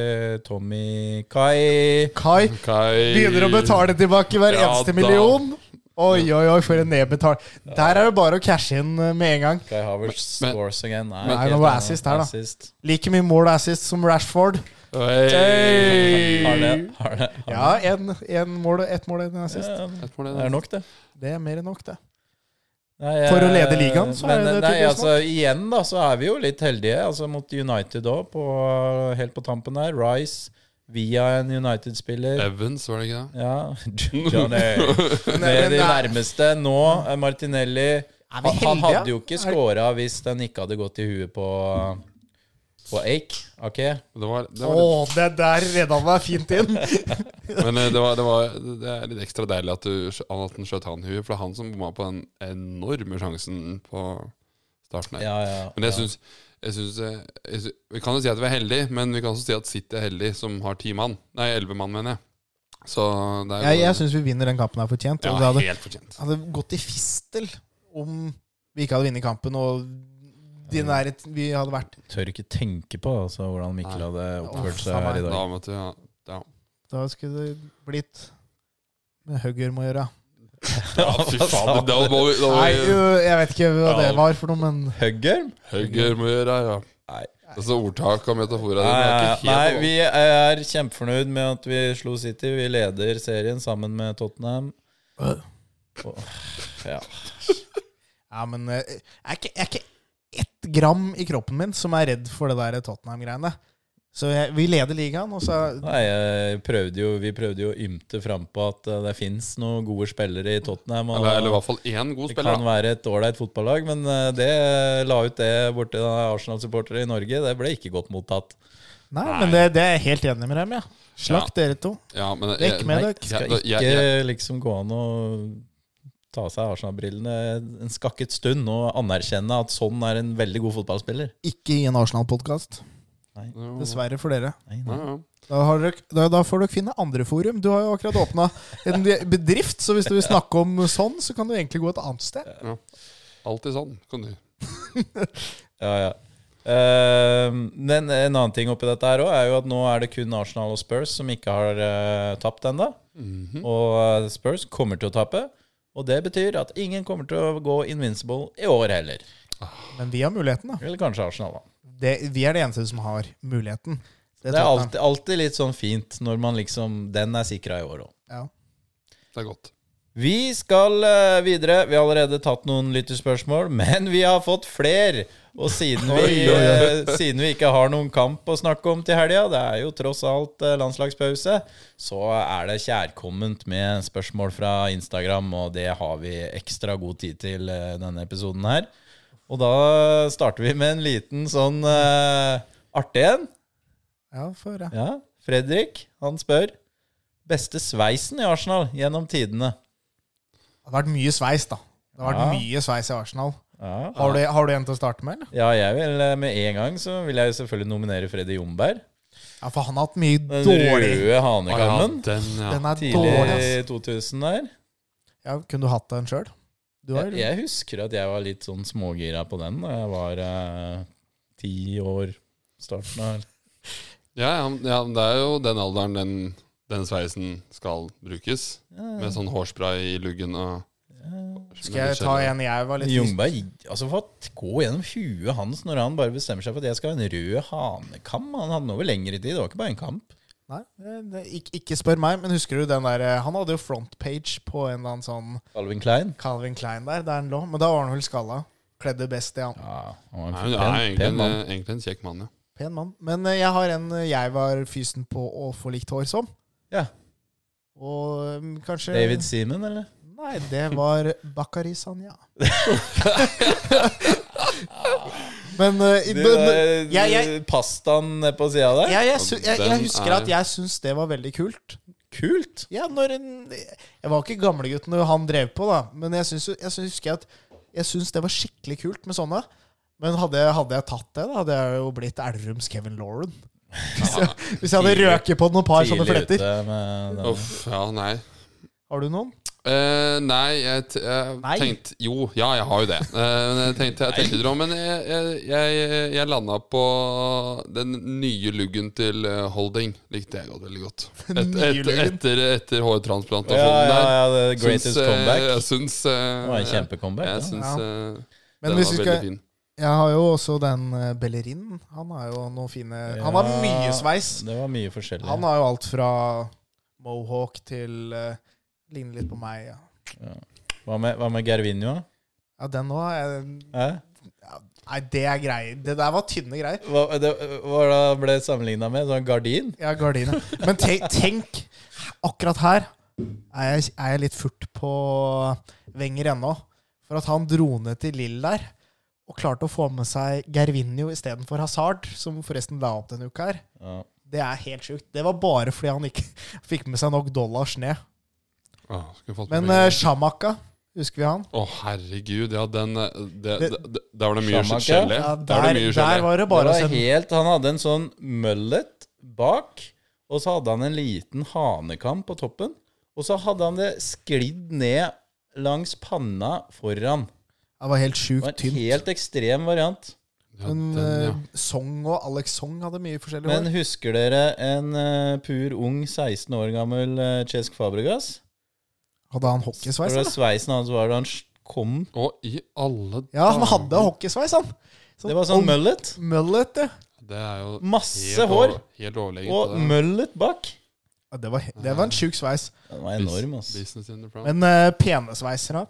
Speaker 3: Tommy Kai.
Speaker 2: Kai
Speaker 1: Kai
Speaker 2: begynner å betale tilbake hver
Speaker 1: Ja,
Speaker 2: eneste
Speaker 1: da.
Speaker 2: million. Oi, oi, oi, for en nedbetal. Der er det bare å cashe inn eh, med en gang.
Speaker 3: Kai Havertz
Speaker 1: Men-
Speaker 3: scores again. Nei,
Speaker 2: Men-
Speaker 3: helt
Speaker 2: Nei, det var
Speaker 3: annet.
Speaker 2: assist her, da.
Speaker 3: Assist.
Speaker 2: Like mye mål og assist som Rashford.
Speaker 1: Hey!
Speaker 3: Har det, har det.
Speaker 2: Ja, en- en mål og ett mål og en assist.
Speaker 3: Ja,
Speaker 1: Jeg tror det,
Speaker 3: det er nok, det.
Speaker 2: Det er mer enn nok, det.
Speaker 3: Nei,
Speaker 2: For å
Speaker 3: eh,
Speaker 2: lede ligaen, så er
Speaker 3: men,
Speaker 2: det
Speaker 3: nei,
Speaker 2: tydeligvis
Speaker 3: altså, Igjen da, så er vi jo litt heldige. Altså Mot United òg, helt på tampen der. Rice via en United-spiller.
Speaker 1: Evans, var det ikke det?
Speaker 3: Ja,
Speaker 1: <laughs>
Speaker 3: Johnny. Det
Speaker 2: Nei,
Speaker 3: er
Speaker 2: men
Speaker 3: de
Speaker 2: det er-
Speaker 3: nærmeste nå. eh, Martinelli.
Speaker 2: Er vi
Speaker 3: Han, han
Speaker 2: heldige?
Speaker 3: hadde jo ikke scora hvis den ikke hadde gått i huet på På Ake. Ake.
Speaker 1: Det var, det
Speaker 2: Å,
Speaker 1: var litt
Speaker 2: det der redda meg fint inn.
Speaker 1: Men eh, det, var, det, var, det er litt ekstra deilig at, du, skjø- at han skjøt han i huet, for det er han som bomma på den enorme sjansen på starten her.
Speaker 3: Ja, ja,
Speaker 1: Men jeg
Speaker 3: ja.
Speaker 1: syns, jeg syns, eh, jeg syns Vi kan jo si at vi er heldige, men vi kan også si at City er heldig som har ti mann. Nei, elleve mann, mener jeg. Så det er
Speaker 2: Jeg,
Speaker 1: jo
Speaker 2: jeg syns vi vinner den kampen her
Speaker 1: ja,
Speaker 2: fortjent. Og det hadde,
Speaker 1: helt fortjent.
Speaker 2: hadde gått i fistel om vi ikke hadde vunnet kampen, og de nære vi hadde vært
Speaker 3: Tør ikke tenke på altså, hvordan Mikkel
Speaker 1: Nei.
Speaker 3: hadde
Speaker 2: Å,
Speaker 3: oppført seg
Speaker 2: faen
Speaker 3: her i
Speaker 2: meg.
Speaker 3: dag.
Speaker 1: Da måtte vi ha ja.
Speaker 2: Da skulle det blitt med Høgger må gjøre.
Speaker 1: ja, fy
Speaker 3: <laughs>
Speaker 1: faen. Da må vi, da må
Speaker 2: Nei,
Speaker 1: vi
Speaker 2: øh, jeg vet ikke hva det
Speaker 1: Ja.
Speaker 2: var for noe, men
Speaker 3: Hugger?
Speaker 1: Høgger må gjøre ja.
Speaker 3: Nei.
Speaker 1: Altså ordtak og metaforer.
Speaker 3: Nei,
Speaker 1: det er ikke helt
Speaker 3: nei, vi er kjempefornøyd med at vi slo City. Vi leder serien sammen med Tottenham.
Speaker 2: Øh.
Speaker 3: Og- Ja.
Speaker 2: Ja, men eh, jeg er ikke, jeg er ikke ett gram i kroppen min som er redd for det der Tottenham-greiene. Så jeg, vi leder ligaen, og så
Speaker 3: Nei, jeg prøvde jo, vi prøvde jo å ymte frampå at eh, det fins noen gode spillere i Tottenham. Og
Speaker 1: Eller, eller i hvert fall én god
Speaker 3: det
Speaker 1: spiller.
Speaker 3: kan
Speaker 1: da.
Speaker 3: være et ålreit fotballag, men eh, det la ut det borti da Arsenal-supportere i Norge. Det ble ikke godt mottatt.
Speaker 2: Nei, men det, det er jeg helt enig med dem, ja. Slakt dere to.
Speaker 1: Ja, men,
Speaker 2: Vekk
Speaker 1: jeg-
Speaker 2: med
Speaker 3: Nei,
Speaker 2: dere.
Speaker 3: skal
Speaker 1: Ja, da-
Speaker 3: ikke
Speaker 1: jeg- jeg-
Speaker 3: liksom gå an å ta av seg Arsenal-brillene en skakket stund og anerkjenne at sånn er en veldig god fotballspiller.
Speaker 2: Ikke i en Arsenal-podkast.
Speaker 1: Ja.
Speaker 2: Dessverre for dere.
Speaker 3: Nei,
Speaker 1: Ja,
Speaker 3: nei.
Speaker 1: ja.
Speaker 2: Da, har dere, da, da får dere finne andre forum. Du har jo akkurat åpna en bedrift, så hvis du vil snakke om sånn, så kan du egentlig gå et annet sted.
Speaker 1: Alltid sånn, kan du.
Speaker 3: Ja, ja. Eh, men en annen ting oppi dette her også er jo at nå er det kun Arsenal og Spurs som ikke har eh, tapt ennå. Og eh, Spurs kommer til å tape. Og det betyr at ingen kommer til å gå invincible i år heller.
Speaker 2: Men vi har muligheten, da.
Speaker 3: Eller kanskje Arsenal, da.
Speaker 2: Det, vi er det eneste som har muligheten. Det
Speaker 3: Det er
Speaker 2: Tottenham.
Speaker 3: alltid, alltid litt sånn fint når man liksom Den er sikra i år òg.
Speaker 2: Ja.
Speaker 1: Det er godt.
Speaker 3: Vi skal eh, videre. Vi har allerede tatt noen lytterspørsmål, <laughs> men vi har fått fler. Og siden <laughs> vi, eh, siden vi ikke har noen kamp å snakke om til helga, det er jo tross alt eh, landslagspause, så er det kjærkomment med spørsmål fra Instagram, og det har vi ekstra god tid til eh, denne episoden her. Og da starter vi med en liten sånn eh, artig en.
Speaker 2: Ja, for, ja.
Speaker 3: Ja, Fredrik, han spør. Beste sveisen i Arsenal gjennom tidene?
Speaker 2: Det har vært mye sveis, da. Det har vært
Speaker 3: Ja.
Speaker 2: mye sveis i Arsenal.
Speaker 3: Ja.
Speaker 2: Har du, har du en til å starte med, eller?
Speaker 3: Ja, jeg vil eh, med en gang så vil jeg jo selvfølgelig nominere Freddy Jomberg.
Speaker 2: Ja, for han har hatt mye
Speaker 3: Den
Speaker 2: dårlig
Speaker 3: røde
Speaker 1: Å, ja,
Speaker 3: hanekammen.
Speaker 1: den, ja.
Speaker 2: Den er
Speaker 3: Tidlig
Speaker 2: dårlig, ass.
Speaker 3: 2000 der.
Speaker 2: Ja, kunne du hatt den sjøl? Du har
Speaker 3: Jeg, jeg husker at jeg var litt sånn smågira på den da jeg var eh, ti år. Starten av
Speaker 1: Ja, ja, men- ja, men det er jo den alderen den, den sveisen skal brukes. Med sånn hårspray i luggen og
Speaker 2: Skal jeg ta en jeg var litt
Speaker 3: Jungberg altså fått gå gjennom huet hans når han bare bestemmer seg for at jeg skal ha en rød hanekam. Han hadde den over lengre tid, det var ikke bare en kamp.
Speaker 2: Nei, det- det- ikke, ikke spør meg, men husker du den der eh, Han hadde jo frontpage på en eller annen sånn
Speaker 3: Alvin Klein.
Speaker 2: Calvin Klein der, der han lå, men da var han vel skalla. Kledde best i han.
Speaker 3: Ja, han
Speaker 1: Nei,
Speaker 3: var en
Speaker 1: hun er egentlig
Speaker 3: pen, pen
Speaker 1: en, eh,
Speaker 3: mann.
Speaker 1: egentlig en kjekk mann, ja.
Speaker 2: Pen mann. Men eh, jeg har en eh, jeg var fysen på å få likt hår som.
Speaker 3: Ja.
Speaker 2: Og mm, kanskje
Speaker 3: David Seaman, eller?
Speaker 2: Nei, det var Bakari
Speaker 1: <laughs>
Speaker 2: Sanja. men eh, i-
Speaker 3: Du,
Speaker 2: men-
Speaker 3: eh,
Speaker 2: jeg, jeg,
Speaker 3: Pastaen ned på sida der?
Speaker 2: jeg, jeg, sy- jeg, jeg
Speaker 1: Den
Speaker 2: husker
Speaker 1: er-
Speaker 2: at jeg syns det var veldig kult.
Speaker 3: Kult!
Speaker 2: Ja, når en, jeg var ikke gamlegutten når han drev på, da. Men jeg syns, jo- jeg syns- husker jeg at jeg syns det var skikkelig kult med sånne. Men hadde, jeg- hadde jeg tatt det, da hadde jeg jo blitt Elverums Kevin Lauren. Hvis jeg, hvis jeg hadde røket på noen par sånne
Speaker 3: Tidlig
Speaker 2: fletter.
Speaker 3: ute med den.
Speaker 1: Uff, ja, nei.
Speaker 2: Har du noen?
Speaker 1: Eh, nei, jeg, t jeg
Speaker 2: Nei.
Speaker 1: tenkte Jo, ja, jeg har jo det. Eh, men jeg tenkte jeg tenkte litt om, men jeg, jeg, jeg, jeg landa på den nye luggen til eh, Holding. Likte jeg godt, veldig godt. Et,
Speaker 2: Den <laughs> nye
Speaker 1: et,
Speaker 2: luggen?
Speaker 1: etter etter
Speaker 3: Ja,
Speaker 1: hårtransplantasjonen
Speaker 3: ja,
Speaker 1: der.
Speaker 3: ja, the
Speaker 1: Syns, eh,
Speaker 3: greatest
Speaker 1: Jeg
Speaker 3: comeback.
Speaker 1: syns
Speaker 3: Det var en
Speaker 1: eh, Jeg
Speaker 3: kjempecomeback. da.
Speaker 1: syns
Speaker 2: Ja.
Speaker 1: eh,
Speaker 2: Men
Speaker 1: den
Speaker 2: hvis
Speaker 1: var
Speaker 2: vi
Speaker 1: veldig
Speaker 2: skal,
Speaker 1: fin.
Speaker 2: jeg har jo også den eh, Bellerin. Han har jo noen fine Han har
Speaker 3: Ja.
Speaker 2: mye sveis.
Speaker 3: Det var mye forskjellig.
Speaker 2: Han har jo alt fra mohawk til eh, Ligner litt på meg. Ja,
Speaker 3: Hva med, hva med Gervinho?
Speaker 2: ja den nå er jeg-
Speaker 3: Eh?
Speaker 2: Nei, det er greier. Det der var tynne greier.
Speaker 3: Hva, det, hva da ble sammenligna med? Sånn gardin?
Speaker 2: Ja, gardiner. Men tenk, tenk akkurat her er jeg, er jeg litt furt på Wenger ennå. For at han dro ned til Lill der og klarte å få med seg Gervinho istedenfor Hazard, som forresten la opp denne uka her.
Speaker 3: Ja.
Speaker 2: Det er helt sjukt. Det var bare fordi han ikke <laughs> fikk med seg nok dollars ned.
Speaker 1: Åh, skulle fått med
Speaker 2: Men
Speaker 1: meg-
Speaker 2: uh, Shamaka, husker vi han?
Speaker 1: Å, herregud. Ja, den eh, det, det,
Speaker 2: Det-
Speaker 1: det, Der var det mye
Speaker 3: Sjamak, ja.
Speaker 1: gelé.
Speaker 2: Ja,
Speaker 1: der var
Speaker 2: der,
Speaker 1: det mye
Speaker 2: der
Speaker 1: gelé.
Speaker 2: var det
Speaker 3: Det
Speaker 2: bare å
Speaker 3: var
Speaker 2: sende
Speaker 3: helt, han hadde en sånn mullet bak, og så hadde han en liten hanekam på toppen. Og så hadde han det sklidd ned langs panna foran.
Speaker 2: Det var helt
Speaker 3: Det var
Speaker 2: sjukt
Speaker 3: en
Speaker 2: tynt.
Speaker 3: helt ekstrem variant.
Speaker 1: Ja,
Speaker 2: Men
Speaker 1: den,
Speaker 2: eh,
Speaker 1: ja.
Speaker 2: Song og Alex Song hadde mye forskjellig
Speaker 3: Men
Speaker 2: hår.
Speaker 3: husker dere en eh, pur ung 16 år gammel uh, Chesk Fabregas?
Speaker 2: Hadde han
Speaker 3: Var
Speaker 2: hockeysveis,
Speaker 3: det
Speaker 2: eller?
Speaker 3: sveisen hans var da han s- kom?
Speaker 1: Og i alle
Speaker 2: Ja, han hadde
Speaker 1: dager.
Speaker 2: hockeysveis, han. Sånn
Speaker 3: Det var sånn
Speaker 2: ung-
Speaker 3: mullet.
Speaker 2: Mullet, ja.
Speaker 1: Det er jo
Speaker 3: Masse
Speaker 1: helt
Speaker 3: hår.
Speaker 1: over- Helt overlegent.
Speaker 3: Og
Speaker 1: på det.
Speaker 3: mullet bak.
Speaker 2: Ja, Det var, det var en
Speaker 3: Ah.
Speaker 2: sjuk sveis.
Speaker 3: Den var
Speaker 1: Bus-
Speaker 3: enorm, ass.
Speaker 1: Business in the front.
Speaker 2: Men eh, pene sveiser, da?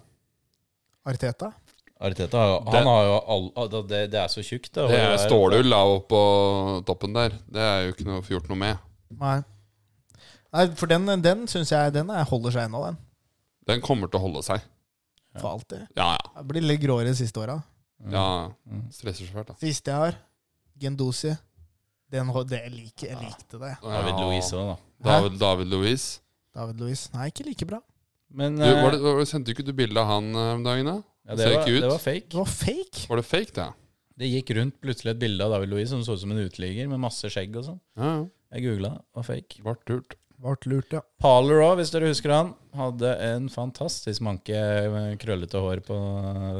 Speaker 2: Arteta?
Speaker 3: Arteta, har jo- han
Speaker 1: Det-
Speaker 3: har jo all, al- det, det er så tjukt, da.
Speaker 1: det er
Speaker 3: Og er-
Speaker 1: stålull da oppå toppen der. Det er jo ikke noe å få gjort noe med.
Speaker 2: Nei. Nei, for den, den syns jeg den er, holder seg ennå, den.
Speaker 1: Den kommer til å holde seg.
Speaker 2: For alltid.
Speaker 1: Ja, ja.
Speaker 2: Jeg blir litt gråere de siste åra.
Speaker 3: Mm.
Speaker 1: ja. Stresser så fælt, da.
Speaker 2: Siste jeg har, Gendosi. Den, ho- det jeg, liker,
Speaker 3: Ah.
Speaker 2: jeg likte det.
Speaker 3: David
Speaker 1: Ja.
Speaker 3: Louise òg, da.
Speaker 1: David, David Louise.
Speaker 2: David Louis. Nei, ikke like bra.
Speaker 3: Men
Speaker 1: Du, var det, var, det- sendte ikke du bilde av han eh, om dagen, da? ser
Speaker 3: ja, det, var,
Speaker 1: ikke ut.
Speaker 3: det var
Speaker 2: Det
Speaker 3: fake.
Speaker 2: var fake.
Speaker 1: Var det fake, det?
Speaker 3: Det gikk rundt plutselig et bilde av David Louis som så ut som en uteligger med masse skjegg og sånn.
Speaker 1: Ja, ja.
Speaker 3: Jeg googla, var fake.
Speaker 1: Vart lurt.
Speaker 2: Ble lurt, ja.
Speaker 3: Parler òg, hvis dere husker han. Hadde en fantastisk manke med krøllete hår på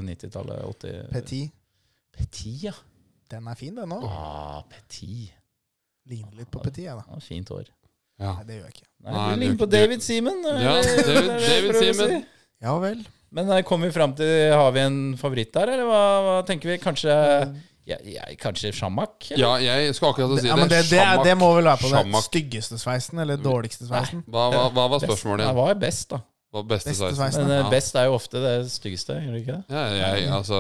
Speaker 3: 90-tallet. 80
Speaker 2: Petit.
Speaker 3: Petit, ja.
Speaker 2: Den er fin, den òg.
Speaker 3: Ah, Petit.
Speaker 2: Ligner litt på Petit, jeg, da.
Speaker 3: Han har fint hår.
Speaker 1: Ja.
Speaker 2: Nei, det gjør jeg ikke.
Speaker 3: Nei,
Speaker 1: Nei,
Speaker 3: du
Speaker 1: det-
Speaker 3: ligner på
Speaker 1: det-
Speaker 3: David Seaman. er <laughs>
Speaker 1: Ja,
Speaker 3: det-
Speaker 1: David-
Speaker 3: det er det
Speaker 1: David
Speaker 3: jeg prøver å
Speaker 1: Seaman.
Speaker 3: si.
Speaker 2: Ja vel.
Speaker 3: eh, Men der kom vi fram til Har vi en favoritt der, eller hva, hva tenker vi? Kanskje ja, ja, Kanskje Shamak?
Speaker 1: Ja, jeg skulle akkurat si det.
Speaker 2: Ja, men det, det, er- det må vel være på den
Speaker 1: Shamak.
Speaker 2: styggeste sveisen, eller dårligste sveisen.
Speaker 1: Hva, hva, hva var spørsmålet
Speaker 3: Det
Speaker 1: igjen?
Speaker 3: var best, da.
Speaker 1: Hva beste
Speaker 2: Beste
Speaker 1: sveisen?
Speaker 2: sveisen.
Speaker 3: Men eh,
Speaker 1: Ja.
Speaker 3: best er jo ofte det styggeste, gjør det ikke det?
Speaker 1: Ja, jeg, altså,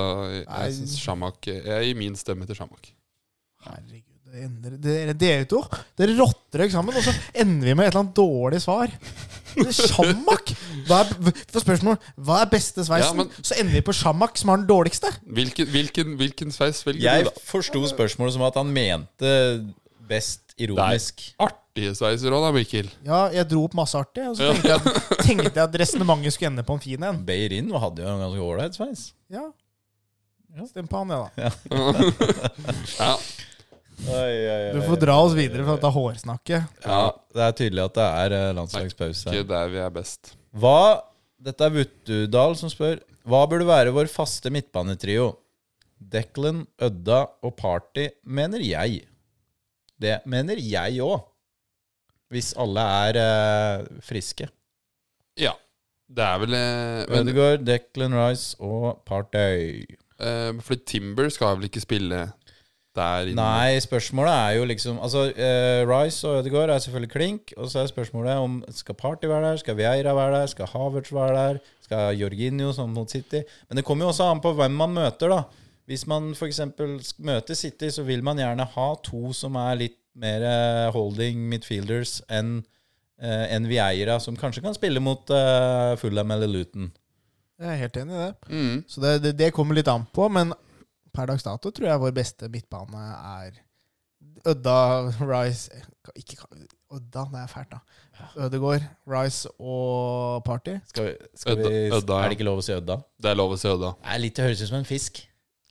Speaker 1: jeg synes
Speaker 2: Nei.
Speaker 1: Shamak Jeg gir min stemme til Shamak.
Speaker 2: Herregud, det ender, dere, dere to dere rotter dere sammen, og så ender vi med et eller annet dårlig svar. Sjamak! Hva er, for spørsmål, hva er beste sveisen?
Speaker 1: Ja, men-
Speaker 2: Så ender vi på sjamak, som har den dårligste.
Speaker 1: Hvilken, hvilken, hvilken sveis velger
Speaker 3: Jeg
Speaker 1: du, da?
Speaker 3: forsto spørsmålet som at han mente best ironisk.
Speaker 1: Artige sveiser òg, da, Mikkel.
Speaker 2: Ja, jeg dro opp masse artig, og <laughs> så tenkte jeg, at- tenkte jeg at resonnementet skulle ende på en fin en.
Speaker 3: Beirin hadde jo en ganske ålreit sveis.
Speaker 2: Ja. Stem på han, ja da.
Speaker 1: Ja,
Speaker 2: Du får dra oss videre fra dette hårsnakket.
Speaker 3: Ja, det er tydelig at det er eh, landslagspause.
Speaker 1: ikke der vi er best.
Speaker 3: Hva Dette er Vuttudal som spør. Hva burde være vår faste midtbanetrio? Declan, Ødda og Party, mener jeg. Det mener jeg òg. Hvis alle er eh, friske.
Speaker 1: Ja. Det er vel eh, men,
Speaker 3: Ødegaard, Declan Rice og Party.
Speaker 1: eh, For Timber skal vel ikke spille der inne?
Speaker 3: Nei, spørsmålet er jo liksom Altså, eh, Rice og Ødegaard er selvfølgelig klink, og så er spørsmålet om skal Party være der, skal Vieira være der, skal Havertz være der, skal Jorginho sånn mot City Men det kommer jo også an på hvem man møter, da. Hvis man f.eks. møter City, så vil man gjerne ha to som er litt mer eh, holding midfielders enn eh, enn Vieira, som kanskje kan spille mot eh, Fulham eller Luton.
Speaker 2: Jeg er helt enig i det.
Speaker 1: Mm.
Speaker 2: Så det, det, det kommer litt an på, men per dags dato tror jeg vår beste midtbane er Ødda, Rice eh, ikke, Ødda, det er fælt, da. Ødegaard, Rice og Party.
Speaker 3: Skal vi, skal
Speaker 1: Ødda-
Speaker 3: vi,
Speaker 1: Ødda, ja.
Speaker 3: er det ikke lov å si Ødda?
Speaker 1: Det er lov å se Odda.
Speaker 3: Det er litt det høres ut som en fisk.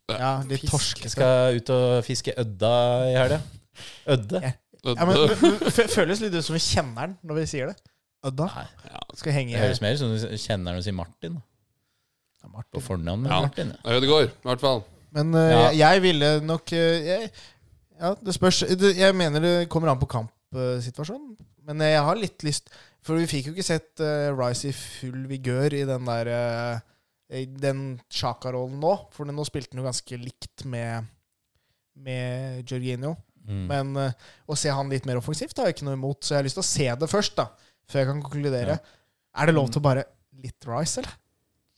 Speaker 2: Ja, litt
Speaker 3: Fisk.
Speaker 2: torskete.
Speaker 3: Skal ut og fiske ødda i helga. Ødde?
Speaker 2: Ja. Ja, men, men, f- føles litt ut som vi kjenner den når vi sier det. Ødda
Speaker 3: Nei,
Speaker 2: skal henge
Speaker 3: det høres mer ut som du kjenner når du sier Martin. da.
Speaker 2: Ja,
Speaker 3: På
Speaker 2: Martin.
Speaker 3: fornavn
Speaker 1: <laughs>
Speaker 3: med
Speaker 1: Ja.
Speaker 3: Martin. ja.
Speaker 1: Ødegaard, i hvert fall.
Speaker 2: Men øh,
Speaker 3: Ja.
Speaker 2: jeg, jeg ville nok øh, jeg, Ja, det spørs. Det, jeg mener det kommer an på kampsituasjonen. Men eh, jeg har litt lyst For vi fikk jo ikke sett øh, Rice i full vigør i den der øh, i Den Sjaka-rollen nå. For nå spilte han jo ganske likt med med Jorginho.
Speaker 3: Mm.
Speaker 2: Men øh, å se han litt mer offensivt har jeg ikke noe imot, så jeg har lyst til å se det først, da. Før jeg kan konkludere. Er det lov
Speaker 3: Mm.
Speaker 2: til å bare litt Rice, eller?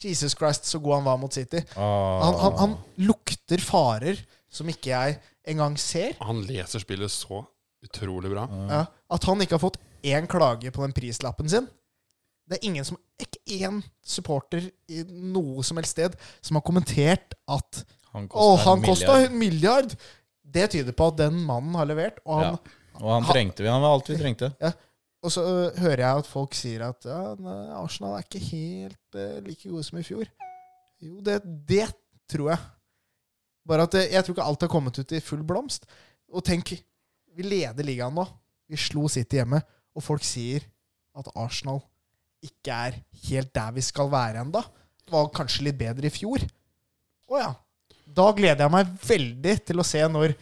Speaker 2: Jesus Christ, så god han var mot City.
Speaker 3: Ah.
Speaker 2: Han, han, han lukter farer som ikke jeg engang ser.
Speaker 1: Han leser spillet så utrolig bra.
Speaker 3: Ah.
Speaker 2: Ja, at han ikke har fått én klage på den prislappen sin. Det er ingen som, ikke én supporter i noe som helst sted som har kommentert at Å,
Speaker 3: Han kostet
Speaker 2: han
Speaker 3: en
Speaker 2: kosta
Speaker 3: milliard.
Speaker 2: en milliard! Det tyder på at den mannen har levert. Og, han,
Speaker 3: Ja. Og han trengte vi. Han var alt vi trengte.
Speaker 2: og så ø, hører jeg at folk sier at ja, nei, Arsenal er ikke helt ø, like gode som i fjor. Jo, det, det tror jeg. Bare at ø, jeg tror ikke alt har kommet ut i full blomst. Og tenk, vi leder ligaen nå. Vi slo City hjemme, og folk sier at Arsenal ikke er helt der vi skal være ennå. Var kanskje litt bedre i fjor. Å ja. Da gleder jeg meg veldig til å se når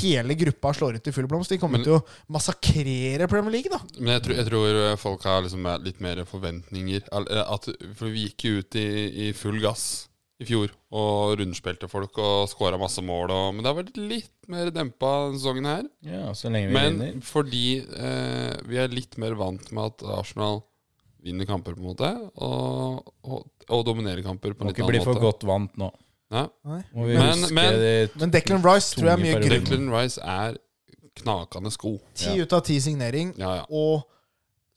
Speaker 2: hele gruppa slår ut i full blomst. De kommer
Speaker 1: Men-
Speaker 2: til å massakrere Premier League, da.
Speaker 1: Men jeg tror, jeg tror folk har liksom litt mer forventninger. Al- eh, At, for vi gikk jo ut i, i full gass i fjor og rundspilte folk og skåra masse mål. Og, men det har vært litt mer dempa denne sesongen her.
Speaker 3: Ja, så lenge vi vinner.
Speaker 1: Men fordi eh, vi er litt mer vant med at Arsenal vinner kamper, på en måte, og, og, og dominerer kamper på en
Speaker 3: Må
Speaker 1: litt
Speaker 3: ikke bli
Speaker 1: annen
Speaker 3: for
Speaker 1: måte.
Speaker 3: godt vant nå.
Speaker 1: Nei.
Speaker 3: Må vi
Speaker 1: Men-
Speaker 3: huske
Speaker 1: men-
Speaker 3: de
Speaker 2: Men Declan Rice tror jeg er mye
Speaker 3: Tunge perioder.
Speaker 2: grunn.
Speaker 1: Declan Rice er knakende sko.
Speaker 2: Ti ut av ti signering,
Speaker 1: Ja, ja.
Speaker 2: og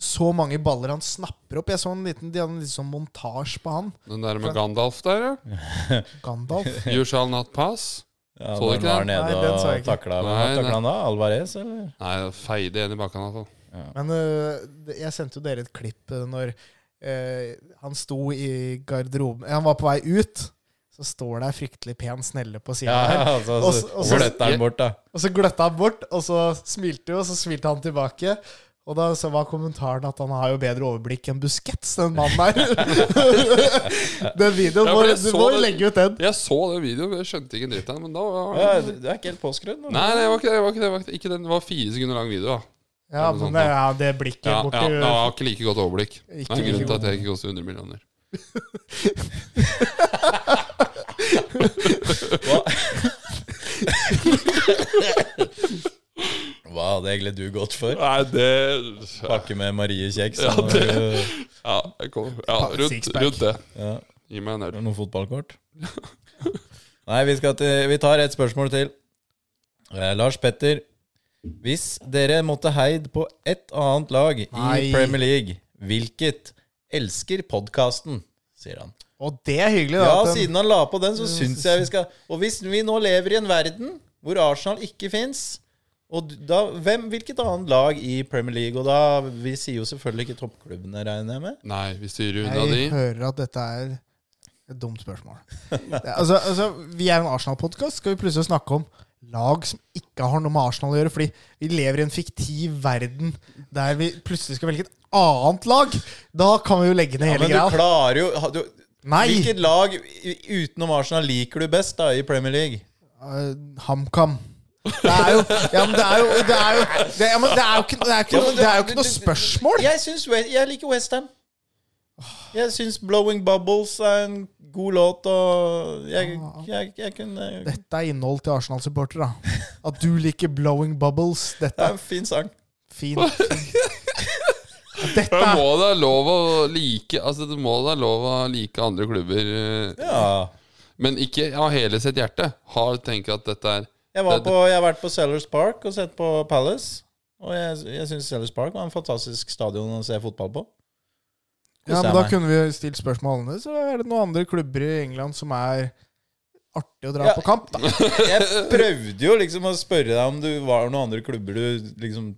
Speaker 2: så mange baller han snapper opp. Jeg så en liten, De hadde en liten sånn montasje på han.
Speaker 1: Den der med Gandalf der, ja.
Speaker 3: <laughs>
Speaker 2: Gandalf.
Speaker 1: You shall not pass.
Speaker 3: ja,
Speaker 1: Så du
Speaker 3: når
Speaker 1: ikke
Speaker 3: han var
Speaker 1: den?
Speaker 3: nede
Speaker 2: Nei, den så jeg
Speaker 3: og
Speaker 2: ikke.
Speaker 3: takla
Speaker 1: Nei, nei.
Speaker 3: takla han da? Alvarez, eller?
Speaker 1: Nei, feide en i bakken, i hvert fall.
Speaker 2: Men øh, det- jeg sendte jo dere et klipp øh, når øh, han sto i garderoben Han var på vei ut. Så står det ei fryktelig pen snelle på sida
Speaker 3: Ja,
Speaker 2: her.
Speaker 3: altså,
Speaker 2: Og
Speaker 3: så
Speaker 2: så- og
Speaker 1: så-
Speaker 3: flytter han bort, da.
Speaker 2: Og så gløtta han bort, og så smilte jo, og så smilte han tilbake. Og da så var kommentaren at han har jo bedre overblikk enn Busquets, den mannen
Speaker 1: <laughs>
Speaker 2: her. den videoen,
Speaker 1: Ja,
Speaker 2: må,
Speaker 1: for jeg
Speaker 2: du
Speaker 1: så
Speaker 2: må
Speaker 1: det.
Speaker 2: legge ut den.
Speaker 1: Jeg så den videoen, men jeg skjønte ikke en dritt av den. Men da var
Speaker 3: Ja, du er ikke helt påskrudd nå.
Speaker 1: Nei, det var ikke det. det Var ikke det, det var ikke, ikke den, det var fire sekunder lang video. sånn da
Speaker 2: Ja,
Speaker 1: Eller noe
Speaker 2: men
Speaker 1: sånt
Speaker 2: det, ja, det blikket
Speaker 1: Ja,
Speaker 2: borti
Speaker 1: ja, ja, jeg har ikke like godt overblikk. Det
Speaker 2: Ikke
Speaker 1: er en
Speaker 2: like
Speaker 1: grunn til
Speaker 2: godt.
Speaker 1: at jeg ikke koster 100 millioner.
Speaker 3: Hva, Hva hadde egentlig du gått for?
Speaker 1: Nei, det
Speaker 3: Pakke med Marie Kjeks?
Speaker 1: Ja,
Speaker 3: og
Speaker 1: det- Ja, jeg kommer. ja rundt,
Speaker 2: Sixpack.
Speaker 1: rundt det.
Speaker 3: ja.
Speaker 1: Gi meg en øl.
Speaker 3: Har du noen fotballkort? <laughs> Nei, vi, skal til, vi tar et spørsmål til. Eh, Lars Petter. Hvis dere måtte heid på ett annet lag
Speaker 2: Nei.
Speaker 3: i Premier League, hvilket elsker podkasten? sier han.
Speaker 2: Og det er hyggelig, da.
Speaker 3: Ja,
Speaker 2: at den-
Speaker 3: siden han la på den, så syns jeg vi skal Og hvis vi nå lever i en verden hvor Arsenal ikke fins og da, hvem, Hvilket annet lag i Premier League? Og da, Vi sier jo selvfølgelig ikke toppklubbene, regner jeg med?
Speaker 1: Nei, vi styrer unna de.
Speaker 2: Jeg
Speaker 1: <laughs>
Speaker 2: hører at dette er et dumt spørmål. Det, er- altså, altså, vi er jo en Arsenal-podkast. Skal vi plutselig snakke om lag som ikke har noe med Arsenal å gjøre? Fordi vi lever i en fiktiv verden der vi plutselig skal velge et annet lag. Da kan vi jo legge ned
Speaker 3: Ja,
Speaker 2: hele
Speaker 3: men du
Speaker 2: greia.
Speaker 3: klarer jo ha- du,
Speaker 2: Nei.
Speaker 3: Hvilket lag i- utenom Arsenal liker du best da i Premier League?
Speaker 2: Eh, HamKam. Det er jo Ja, men det er jo Det er jo, det, ja, men det er jo ikke, det er ikke,
Speaker 3: Ja, men
Speaker 2: det er jo ikke
Speaker 3: du- du-
Speaker 2: noe
Speaker 3: du-
Speaker 2: spørsmål.
Speaker 3: Jeg, syns, Wes- jeg liker Westham. Jeg syns 'Blowing Bubbles' er en god låt, og jeg, jeg, jeg kunne Det
Speaker 2: Ah. Dette er innhold til Arsenal-supportere. At du liker 'Blowing Bubbles'. Dette
Speaker 3: er
Speaker 2: er
Speaker 3: en fin sang.
Speaker 2: fint. Dette
Speaker 1: Men
Speaker 2: er
Speaker 1: må det være lov å like Altså det må da være lov å like andre klubber eh,
Speaker 3: Ja.
Speaker 1: Men ikke av hele sitt hjerte Har tenker at dette er
Speaker 3: Jeg, var
Speaker 1: det-
Speaker 3: på, jeg har vært på Sellers Park og sett på Palace. Og jeg, jeg syns Sellers Park var en fantastisk stadion å se fotball på.
Speaker 2: Ja,
Speaker 3: Koser
Speaker 2: men
Speaker 3: jeg
Speaker 2: da
Speaker 3: meg.
Speaker 2: kunne vi jo stilt spørsmål annerledes. Så er det noen andre klubber i England som er artig å dra
Speaker 3: Ja.
Speaker 2: på kamp, da?
Speaker 3: Jeg prøvde jo liksom å spørre deg om du var noen andre klubber du liksom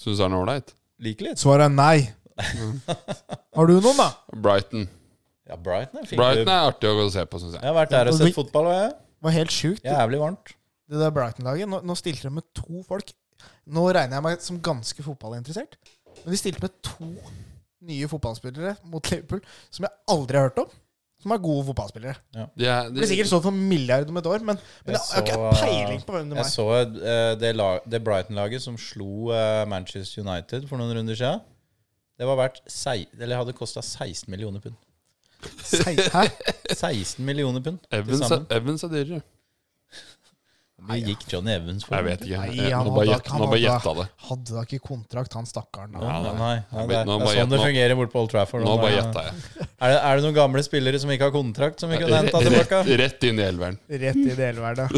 Speaker 1: Synes jeg er noe ålreit.
Speaker 3: liker litt.
Speaker 2: Svaret er nei.
Speaker 3: <laughs>
Speaker 2: Har du noen, da?
Speaker 1: Brighton
Speaker 3: Ja, Brighton er fin
Speaker 1: Brighton
Speaker 3: klubb.
Speaker 1: er artig å gå og se på synes
Speaker 3: Jeg
Speaker 1: jeg
Speaker 3: har vært der og
Speaker 2: Og
Speaker 3: sett
Speaker 2: vi-
Speaker 3: fotball, og jeg.
Speaker 2: Det var helt sjukt,
Speaker 3: Jævlig varmt.
Speaker 2: det der Brighton-laget. Nå, nå stilte de med to folk. Nå regner jeg meg som ganske fotballinteressert, men de stilte med to nye fotballspillere mot Liverpool som jeg aldri har hørt om. Som er gode fotballspillere.
Speaker 1: de er,
Speaker 2: Det blir
Speaker 1: de,
Speaker 2: sikkert sånn for milliard om et år, men, men
Speaker 3: Jeg
Speaker 2: jeg har ikke
Speaker 3: så,
Speaker 2: peiling på hvem de
Speaker 3: Jeg
Speaker 2: er.
Speaker 3: så eh, det, la- det Brighton-laget som slo eh, Manchester United for noen runder siden. Det var verdt sei, eller hadde kosta 16 millioner pund.
Speaker 2: Sei, hæ?
Speaker 3: 16 millioner pund til
Speaker 1: Evans,
Speaker 3: sammen.
Speaker 1: er, Evans er dyrere
Speaker 3: Vi gikk Johnny Evans for
Speaker 1: Jeg vet ikke
Speaker 2: Nei,
Speaker 1: jeg,
Speaker 2: han
Speaker 1: Nå
Speaker 2: hadde-
Speaker 1: bare gjett-
Speaker 2: han
Speaker 1: nå bare
Speaker 2: hadde-
Speaker 1: gjetta det
Speaker 2: Hadde da ikke kontrakt, han stakkaren. da.
Speaker 3: Ja,
Speaker 1: nei.
Speaker 3: nei, nei, nei, det,
Speaker 1: vet nå,
Speaker 3: er- det
Speaker 1: bare
Speaker 3: er sånn
Speaker 1: gjett
Speaker 3: det
Speaker 1: nå.
Speaker 3: fungerer borte på Old Trafford.
Speaker 1: Nå
Speaker 3: Nå
Speaker 1: bare
Speaker 3: er-
Speaker 1: gjetta jeg
Speaker 3: er, det, er det noen gamle spillere som ikke har kontrakt, som vi kan hente
Speaker 1: rett,
Speaker 3: tilbake?
Speaker 1: <laughs> rett inn i elveren
Speaker 2: Rett i delverdet.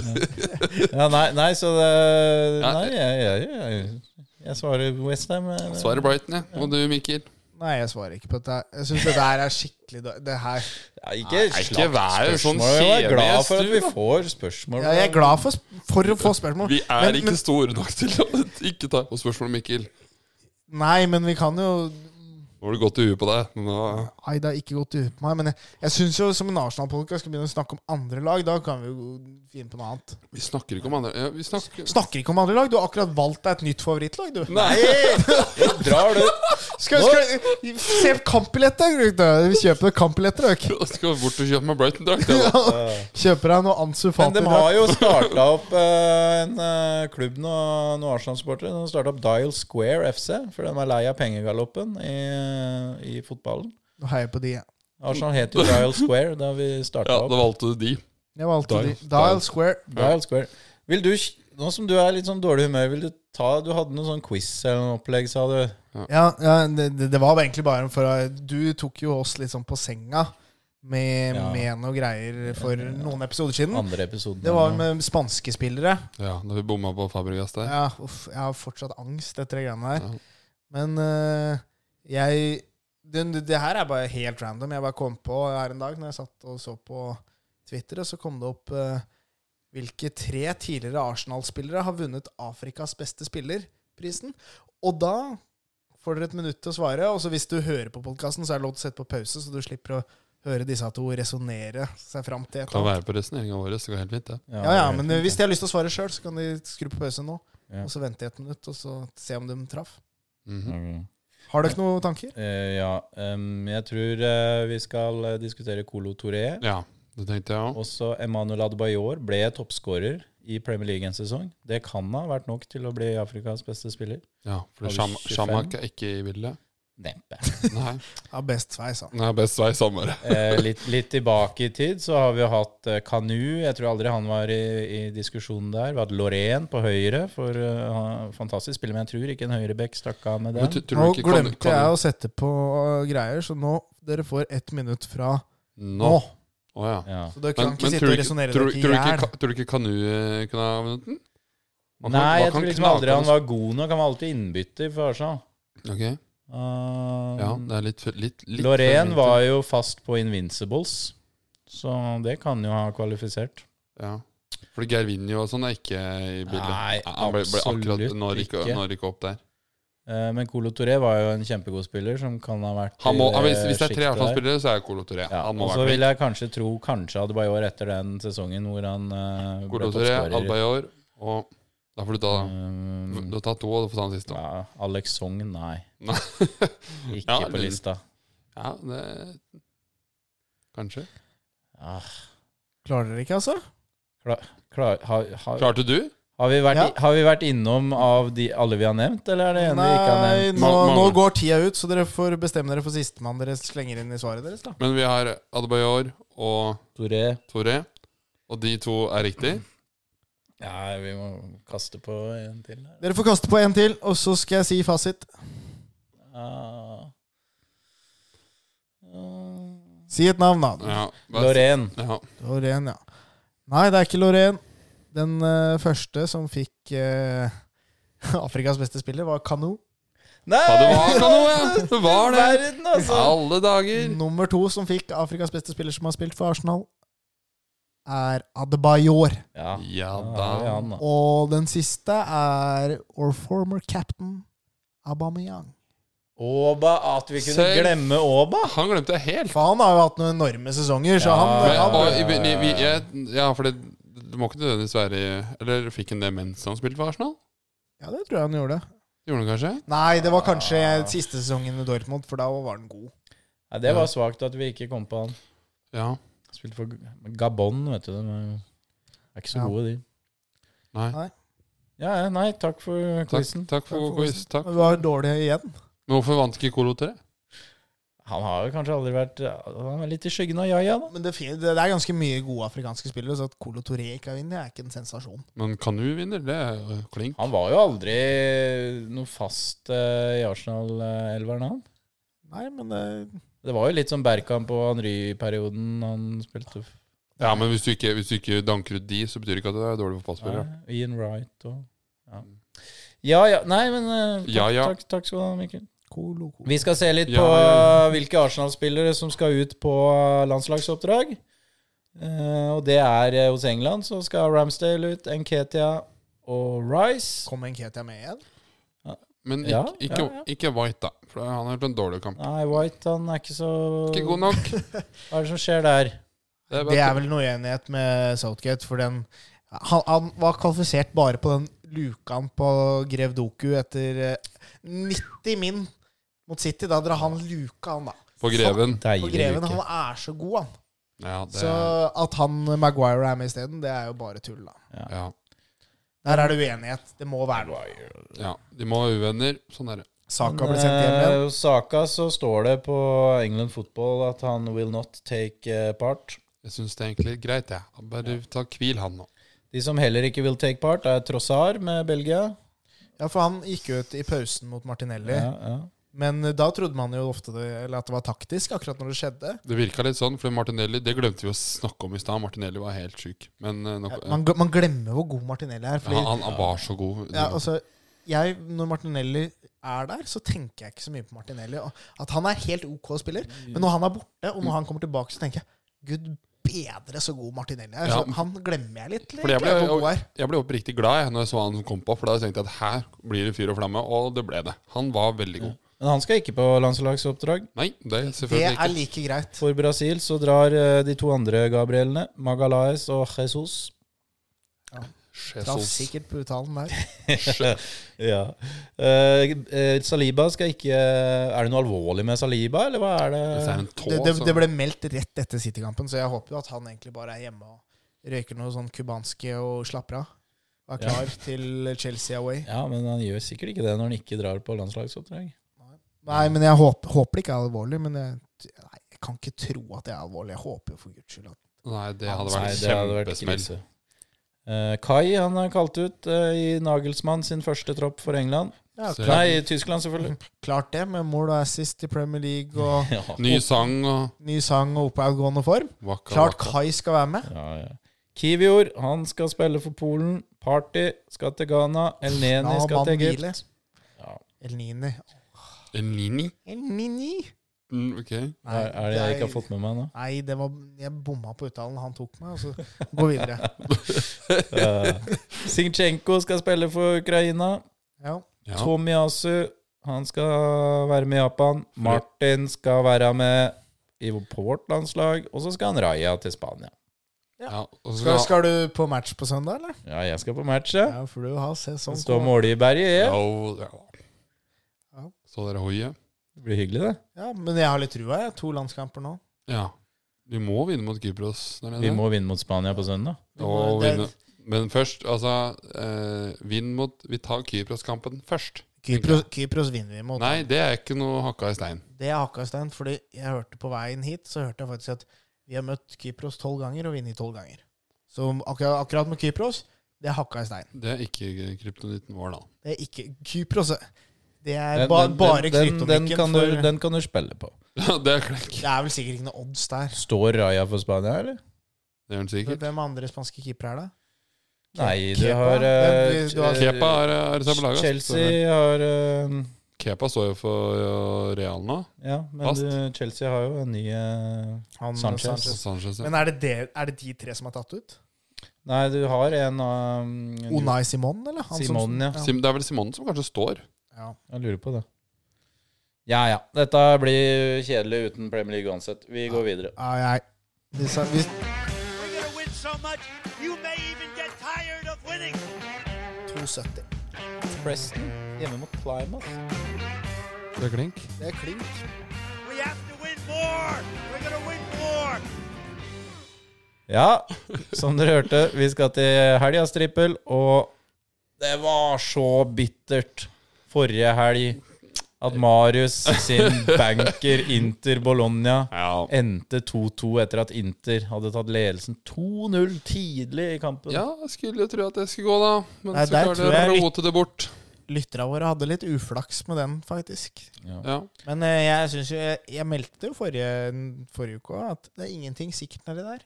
Speaker 1: <laughs>
Speaker 3: Ja, nei, nei, så det
Speaker 1: Ja.
Speaker 3: Nei, jeg, jeg, jeg, jeg svarer eh, Westham.
Speaker 1: Svarer Brighton jeg Og du Mikkel
Speaker 2: Nei, jeg svarer ikke på dette. Jeg syns det der er skikkelig dårlig. Det her
Speaker 3: Ja, ikke
Speaker 1: Nei, ikke
Speaker 3: slakt
Speaker 1: vær jo sånn
Speaker 3: spørsmål. Jeg er glad
Speaker 1: kjevegjest,
Speaker 3: for at
Speaker 1: du, da.
Speaker 3: vi får spørsmål.
Speaker 2: ja,
Speaker 1: <laughs>
Speaker 2: Jeg er glad for, sp- for å få spørsmål.
Speaker 1: Vi er
Speaker 2: Men-
Speaker 1: ikke store nok til å <laughs> ikke ta på spørsmålet Mikkel
Speaker 2: men, Nei, men vi kan jo
Speaker 1: Nå var det godt i huet på deg Nå
Speaker 2: Nei, det har ikke gått ut på meg. Men jeg, jeg syns jo som en Arsenal-podkast skal begynne å snakke om andre lag. Da kan vi jo finne på noe annet.
Speaker 1: Vi snakker ikke om andre ja, Vi snakker
Speaker 2: Snakker ikke om andre lag. Du har akkurat valgt deg et nytt favorittlag, du.
Speaker 1: Nei
Speaker 3: Nå Drar du
Speaker 2: Skal, skal, se kampbilletter! gutt, da. Vi kjøper kampbilletter, dere.
Speaker 1: <laughs> Jeg skal bort og kjøpe meg Brighton-drakt jeg, da.
Speaker 2: Kjøper deg noe Ansu
Speaker 3: Men
Speaker 2: Fati.
Speaker 3: de har jo starta opp eh, en eh, klubb nå, noen Arsenal-supportere. De har starta opp Dial Square FC, for de er lei av pengegaloppen i, i fotballen.
Speaker 2: Nå heier jeg på de. jeg.
Speaker 3: Arsenal het jo Dial Square da vi starta
Speaker 1: Ja,
Speaker 3: opp.
Speaker 1: da valgte du de.
Speaker 2: Jeg valgte
Speaker 1: Dial.
Speaker 2: de. Dial Square.
Speaker 3: Dial Square. Vil du, nå som du er litt sånn dårlig humør, vil du ta Du hadde noe sånn quiz eller noe opplegg, sa du.
Speaker 2: Ja, ja det, det det var egentlig bare for at Du tok jo oss litt sånn på senga med,
Speaker 3: Ja.
Speaker 2: med noe greier for noen episoder siden.
Speaker 3: Andre episoden.
Speaker 2: Det var med spanske spillere.
Speaker 1: Ja, da vi bomma på Fabregas der.
Speaker 2: Ja, uff, jeg har fortsatt angst etter de greiene
Speaker 1: Ja.
Speaker 2: der. Men eh, jeg det, det her er bare helt random. Jeg bare kom på her en dag når jeg satt og så på Twitter, og så kom det opp eh, hvilke tre tidligere Arsenal-spillere har vunnet Afrikas beste spillerprisen. Og da får dere et minutt til å svare, og så hvis du hører på podkasten, så er det lov til å sette på pause, så du slipper å høre disse to resonnere seg fram til et
Speaker 1: Kan
Speaker 2: eller annet.
Speaker 1: være på resonneringa vår. Det går helt fint, det.
Speaker 2: Ja, ja, men hvis de har lyst til å svare sjøl, så kan de skru på pause nå.
Speaker 3: Ja.
Speaker 2: Og så vente i et minutt, og så se om de traff.
Speaker 1: Mhm.
Speaker 2: Har dere noen tanker?
Speaker 3: Eh, ja, em, jeg tror eh, vi skal eh, diskutere Colo Touré.
Speaker 1: Ja, det tenkte jeg òg.
Speaker 3: Også Emmanuel Adebayor ble toppskårer i Premier League en sesong. Det kan ha vært nok til å bli Afrikas beste spiller.
Speaker 1: Ja, for
Speaker 3: Har vi
Speaker 1: Sham-
Speaker 3: 25?
Speaker 1: Shamak er ikke i bildet.
Speaker 3: Neppe.
Speaker 1: Nei,
Speaker 2: Ja, best sveis, han.
Speaker 1: det er best vei samme.
Speaker 3: <laughs> Eh, litt, litt tilbake i tid så har vi jo hatt eh, Kanu. Jeg tror aldri han var i, i diskusjonen der. Vi har hatt Lorén på høyre. For, eh, han- fantastisk spiller, men jeg tror ikke en høyrebekk stakk av med
Speaker 1: Men
Speaker 3: det.
Speaker 1: tr- tror
Speaker 2: Nå
Speaker 1: du ikke kan,
Speaker 2: glemte
Speaker 1: kan,
Speaker 2: jeg å sette på uh, greier, så nå dere får ett minutt fra
Speaker 1: Nå.
Speaker 2: nå.
Speaker 1: Å, ja.
Speaker 3: Ja.
Speaker 2: Så dere kan
Speaker 1: Men,
Speaker 2: ikke
Speaker 1: men
Speaker 2: sitte
Speaker 1: tror, du
Speaker 2: og
Speaker 1: ikke-
Speaker 2: resonnere
Speaker 1: tror,
Speaker 2: dere i
Speaker 1: tror, du ikke
Speaker 2: hjel.
Speaker 1: ka- tror du ikke Kanu eh, kunne ha vunnet den? Man kan-
Speaker 3: Nei,
Speaker 1: man
Speaker 3: jeg
Speaker 1: kan
Speaker 3: tror liksom
Speaker 1: knake
Speaker 3: aldri han var god nok. Han var alltid innbytter for Arsenal.
Speaker 1: Ok,
Speaker 3: Uh,
Speaker 1: Ja, det er litt, for- litt, litt
Speaker 3: Lorén
Speaker 1: for-
Speaker 3: var jo fast på Invincibles, så det kan jo ha kvalifisert.
Speaker 1: ja. For Gervinho og sånn er ikke i bildet.
Speaker 3: Nei,
Speaker 1: han ble, ble akkurat
Speaker 3: absolutt
Speaker 1: når ikke,
Speaker 3: ikke.
Speaker 1: når ikke opp der.
Speaker 3: Eh, Men Colo Touré var jo en kjempegod spiller som kan ha vært
Speaker 1: Han må,
Speaker 3: i
Speaker 1: han, hvis, hvis det er tre
Speaker 3: sjiktet der.
Speaker 1: Arsenal-spillere, så er Colo Toré.
Speaker 3: eh, Ja,
Speaker 1: han må
Speaker 3: og så
Speaker 1: være
Speaker 3: vil
Speaker 1: med.
Speaker 3: jeg kanskje tro kanskje Adebayor etter den sesongen hvor han eh, ble
Speaker 1: Colo Toré,
Speaker 3: toppskårer.
Speaker 1: Albayor og Da får du ta
Speaker 3: Um,
Speaker 1: Du har tatt to, og da får du ta den siste.
Speaker 3: ja, Alex Song, nei.
Speaker 1: Nei.
Speaker 3: <laughs> Ikke
Speaker 1: Ja,
Speaker 3: på
Speaker 1: det-
Speaker 3: lista.
Speaker 1: Ja, det Kanskje.
Speaker 3: Ah,
Speaker 2: Klarer dere ikke, altså?
Speaker 3: klar, har, har,
Speaker 1: Klarte du?
Speaker 3: har, vi vært,
Speaker 2: Ja.
Speaker 3: i- har vi vært innom av de, alle vi har nevnt, eller er det en vi ikke har
Speaker 2: Nei,
Speaker 3: nevnt?
Speaker 2: nå,
Speaker 1: Ma-
Speaker 2: nå
Speaker 1: mange.
Speaker 2: går tida ut, så dere får bestemme dere for sistemann dere slenger inn i svaret deres, da.
Speaker 1: Men vi har Adebayor og
Speaker 3: Touré.
Speaker 1: Toré, og de to er riktig.
Speaker 3: Ja, vi må kaste på en til. her.
Speaker 2: Dere får kaste på en til, og så skal jeg si fasit.
Speaker 3: Ah. Ah.
Speaker 2: Si et navn, da.
Speaker 1: Ja, hva-
Speaker 3: Lorén.
Speaker 1: Ja.
Speaker 2: Lorén, ja. Nei, det er ikke Lorén. Den eh, første som fikk eh, <laughs> Afrikas beste spiller, var Kanu.
Speaker 3: Nei!
Speaker 1: Ja, det var Kanu, ja! Det var det!
Speaker 3: Verden, altså!
Speaker 1: Alle dager!
Speaker 2: Nummer to som fikk Afrikas beste spiller som har spilt for Arsenal, er Adebayor.
Speaker 3: Ja,
Speaker 1: Ja
Speaker 3: da
Speaker 1: da.
Speaker 3: har vi han, da.
Speaker 2: Og den siste er our former captain Aubameyang.
Speaker 3: Åba, at vi kunne
Speaker 1: Selv-
Speaker 3: glemme Åba!
Speaker 1: Han glemte jeg helt.
Speaker 2: For han har jo hatt noen enorme sesonger, så
Speaker 3: Ja.
Speaker 1: Men,
Speaker 2: han,
Speaker 1: og,
Speaker 2: han
Speaker 1: i- vi, vi, jeg, ja, for det, det må ikke nødvendigvis være i- Eller fikk han det mens han spilte for Arsenal?
Speaker 2: Ja, det tror jeg han gjorde.
Speaker 1: Gjorde han kanskje?
Speaker 2: Nei, det var kanskje siste sesongen med Dortmund, for da var den god.
Speaker 3: Nei, det var svakt at vi ikke kom på han.
Speaker 1: Ja.
Speaker 3: Spilte for Gabon, vet du. De er jo- er ikke så
Speaker 2: Ja.
Speaker 3: gode, de.
Speaker 1: Nei.
Speaker 3: Ja, ja, nei, takk for
Speaker 1: Takk,
Speaker 3: quizen.
Speaker 1: takk for god quiz. Takk.
Speaker 2: Men det var dårlig igjen.
Speaker 1: Men hvorfor vant ikke Colo til det?
Speaker 3: Han har jo kanskje aldri vært Han er litt i skyggen av Yaya, da.
Speaker 2: Men det, fin- det er ganske mye gode afrikanske spillere, så at Colo Toré ikke har vunnet, er ikke en sensasjon.
Speaker 1: Men Kanu vinner, det er jo klink.
Speaker 3: Han var jo aldri noe fast eh, i Arsenal-elveren, han.
Speaker 2: Nei, men det,
Speaker 3: Det var jo litt som Berkamp og Henry-perioden han spilte f-
Speaker 1: Ja, men hvis du ikke, hvis du ikke danker ut de, så betyr det ikke at du er dårlig fotballspiller.
Speaker 3: Nei, Ian Wright og ja. ja, ja. Nei, men eh, takk,
Speaker 1: Ja, ja.
Speaker 3: takk, takk skal du ha, Mikkel.
Speaker 2: Colo, Colo.
Speaker 3: Vi skal se litt
Speaker 1: Ja,
Speaker 3: på
Speaker 1: ja, ja.
Speaker 3: eh, hvilke Arsenal-spillere som skal ut på landslagsoppdrag. Eh, og det er eh, hos England, så skal Ramsdale ut, Nketia og Rice.
Speaker 2: Kom Nketia med igjen?
Speaker 1: Men
Speaker 3: Ja,
Speaker 1: ikke, ikke,
Speaker 3: ja, ja.
Speaker 1: ikke White, da. For han har gjort en dårlig kamp.
Speaker 3: Nei, White han er ikke så
Speaker 1: Ikke god
Speaker 2: <laughs>
Speaker 1: nok.
Speaker 3: Hva er det som skjer der?
Speaker 1: Det
Speaker 2: Det
Speaker 1: bare-
Speaker 2: er vel noe uenighet med Southgate, for den han, han var kvalifisert bare på den lukan på Grev Doku etter eh, 90 min mot City. Da drar han luka, han da.
Speaker 1: På Greven.
Speaker 2: For
Speaker 3: Deilig
Speaker 2: Greven
Speaker 3: uke.
Speaker 2: han er så god, han.
Speaker 1: Ja, det
Speaker 2: Så at han eh, Maguire er med isteden, det er jo bare tull, da.
Speaker 1: ja,
Speaker 2: Der er det uenighet. Det må være noe.
Speaker 1: ja. De må være uvenner. Sånn er det.
Speaker 2: Saka ble sendt hjem igjen.
Speaker 3: Eh, hos Saka så står det på England Football at han will not take eh, part.
Speaker 1: Jeg syns det er egentlig greit, jeg. Ja. Bare ta hvil, han nå.
Speaker 3: De som heller ikke vil take part, er Trossar med Belgia.
Speaker 2: Ja, for han gikk jo ut i pausen mot Martinelli.
Speaker 3: Ja, ja.
Speaker 2: Men eh, da trodde man jo ofte det, eller at det var taktisk, akkurat når det skjedde.
Speaker 1: Det virka litt sånn, for Martinelli Det glemte vi å snakke om i stad. Martinelli var helt sjuk. Men eh, nok,
Speaker 2: Ja, Man, man glemmer hvor god Martinelli er.
Speaker 1: ja,
Speaker 2: Fordi
Speaker 1: han, han var så god.
Speaker 2: Ja, altså, jeg, når Martinelli er der, så tenker jeg ikke så mye på Martinelli. og At han er helt OK spiller. Men når han er borte, og når han kommer tilbake, så tenker jeg Gud bedre så god Martinelli er.
Speaker 1: Ja.
Speaker 2: Så han glemmer jeg litt.
Speaker 1: Fordi jeg ble,
Speaker 2: egentlig, hvor god han
Speaker 1: jeg,
Speaker 2: er.
Speaker 1: jeg ble oppriktig glad jeg, når jeg så han som kom på, for da tenkte jeg at her blir det fyr og flamme, og det ble det. Han var veldig god.
Speaker 3: Men han skal ikke på landslagsoppdrag.
Speaker 1: Nei, det er
Speaker 2: Det
Speaker 1: selvfølgelig
Speaker 2: er
Speaker 1: ikke.
Speaker 2: like greit.
Speaker 3: For Brasil så drar eh, de to andre Gabrielene, Magalhaes og Jesus.
Speaker 2: Traff
Speaker 1: <laughs> Jesus.
Speaker 2: sikkert på uttalen der.
Speaker 3: Ja. Eh, eh, Saliba skal ikke eh, Er det noe alvorlig med Saliba, eller hva er det?
Speaker 1: Hvis det er en tå, altså.
Speaker 2: Det, det,
Speaker 3: altså.
Speaker 1: så-
Speaker 2: det ble meldt rett etter City-kampen, så jeg håper jo at han egentlig bare er hjemme og røyker noe sånn cubanske og slapper av. Og er
Speaker 3: Ja.
Speaker 2: klar til Chelsea away.
Speaker 3: Ja, men han gjør sikkert ikke det når han ikke drar på landslagsoppdrag.
Speaker 2: Nei, men jeg håper, håper det ikke er alvorlig. Men jeg, nei, jeg kan ikke tro at det er alvorlig. Jeg håper jo for guds skyld at
Speaker 1: Nei, det hadde
Speaker 3: Ah, Nei,
Speaker 1: vært
Speaker 3: det hadde vært
Speaker 1: kjempesmell.
Speaker 3: krise. Eh, Kai han er kalt ut eh, i Nagelsmann sin første tropp for England.
Speaker 2: ja,
Speaker 1: Så-
Speaker 2: klart,
Speaker 3: Nei, i
Speaker 1: <laughs>
Speaker 3: Tyskland, selvfølgelig.
Speaker 2: klart det, med mål og assist i Premier League
Speaker 3: <laughs>
Speaker 2: og
Speaker 3: Ja.
Speaker 1: Ny sang og
Speaker 2: ny sang og oppadgående form.
Speaker 1: Waka
Speaker 2: Klart
Speaker 1: waka.
Speaker 2: Kai skal være med.
Speaker 3: Ja, ja. Kivior, han skal spille for Polen. Party skal til Ghana. Elneni
Speaker 2: Ja,
Speaker 3: skal til
Speaker 2: mannen hvile.
Speaker 3: Egypt. Ja.
Speaker 2: El Nini.
Speaker 1: En Nini?
Speaker 2: El Nini?
Speaker 1: Mm, ok.
Speaker 3: Er, er det jeg ikke har fått med meg nå?
Speaker 2: Nei, det var, jeg bomma på uttalen. Han tok meg, og så gå videre.
Speaker 3: <laughs> Uh, Sinchenko skal spille for Ukraina.
Speaker 2: Ja.
Speaker 1: Ja.
Speaker 3: Tomiyasu, han skal være med i Japan. Martin skal være med i, på vårt landslag. Og så skal han Raja til Spania.
Speaker 1: ja. Og så
Speaker 2: Skal,
Speaker 1: skal
Speaker 2: skal du på match på søndag, eller?
Speaker 3: Ja, jeg skal på match, ja.
Speaker 2: Ja, for du har sesong
Speaker 3: Stå Måløyberget, ja.
Speaker 1: Au, ja.
Speaker 2: Ja.
Speaker 1: Så dere hoiet?
Speaker 3: Det blir hyggelig, det.
Speaker 2: Ja, men jeg har litt trua, jeg. To landskamper nå.
Speaker 1: Ja. Vi må vinne mot Kypros. er det
Speaker 3: Vi
Speaker 1: det?
Speaker 3: må vinne mot Spania på søndag.
Speaker 2: Vi
Speaker 1: Og
Speaker 2: må- det-
Speaker 1: vinne. Men først, altså eh, Vinn mot Vi tar Kypros-kampen først.
Speaker 2: Kypros, Kypros vinner vi mot.
Speaker 1: Nei, det er ikke noe hakka i stein.
Speaker 2: Det er hakka i stein, fordi jeg hørte på veien hit, så hørte jeg faktisk at vi har møtt Kypros tolv ganger og vunnet tolv ganger. Så akkurat, akkurat med Kypros, det er hakka i stein.
Speaker 1: Det er ikke kryptonitten vår, da. <laughs>
Speaker 2: Det er ikke Kypros. Det er
Speaker 3: Den-
Speaker 2: ba,
Speaker 3: den-
Speaker 2: bare
Speaker 3: den, den,
Speaker 2: kryptonikken.
Speaker 3: kan du,
Speaker 2: for-
Speaker 3: den kan du spille på.
Speaker 1: Ja, det er klekk.
Speaker 2: Det er vel sikkert ikke noe odds der.
Speaker 3: Står Raja for Spania, eller?
Speaker 1: Det gjør den sikkert.
Speaker 2: Hvem andre spanske keepere er det?
Speaker 3: Nei, du
Speaker 2: Kepa?
Speaker 3: har,
Speaker 2: Den-
Speaker 3: eh,
Speaker 2: du har-
Speaker 1: Kepa er, er samme lag. ass.
Speaker 3: Chelsea har eh,
Speaker 1: Kepa står jo for ja, Real nå.
Speaker 3: Ja, men
Speaker 1: Fast.
Speaker 3: du, Chelsea har jo en ny eh,
Speaker 2: Han,
Speaker 3: Sanchez.
Speaker 1: Og Sanchez, ja.
Speaker 2: Men er det, det, er det de tre som er tatt ut?
Speaker 3: Nei, du har en av um,
Speaker 2: Unai Simon, eller? Han som-
Speaker 3: Simon, ja.
Speaker 1: Sim, det er vel Simon som kanskje står.
Speaker 2: ja.
Speaker 3: Jeg lurer på det. Ja ja, dette blir kjedelig uten Premier League uansett. Vi går videre.
Speaker 2: Ja, jeg hvis, hvis,
Speaker 4: We're going to win so much, you may even get tired of winning.
Speaker 2: 2,70.
Speaker 3: Preston hjemme mot Plymouth.
Speaker 1: Det er klink.
Speaker 2: Det er klink.
Speaker 4: We have to win more. We're going to win more.
Speaker 3: Ja, som dere hørte, vi skal til helgas trippel, og det var så bittert forrige helg at Marius sin banker Inter Bologna
Speaker 1: Ja.
Speaker 3: endte 2-2 etter at Inter hadde tatt ledelsen 2-0 tidlig i kampen.
Speaker 1: ja, jeg skulle jo tro at det skulle gå, da. Men
Speaker 2: Nei,
Speaker 1: så
Speaker 2: der
Speaker 1: klarte
Speaker 2: tror jeg
Speaker 1: jeg å
Speaker 2: litt-
Speaker 1: rote det bort.
Speaker 2: Lytterne våre hadde litt uflaks med den, faktisk.
Speaker 1: Ja.
Speaker 2: Men eh, jeg synes jo Jeg, jeg meldte jo forrige, forrige uke også at det er ingenting sikkert nedi der.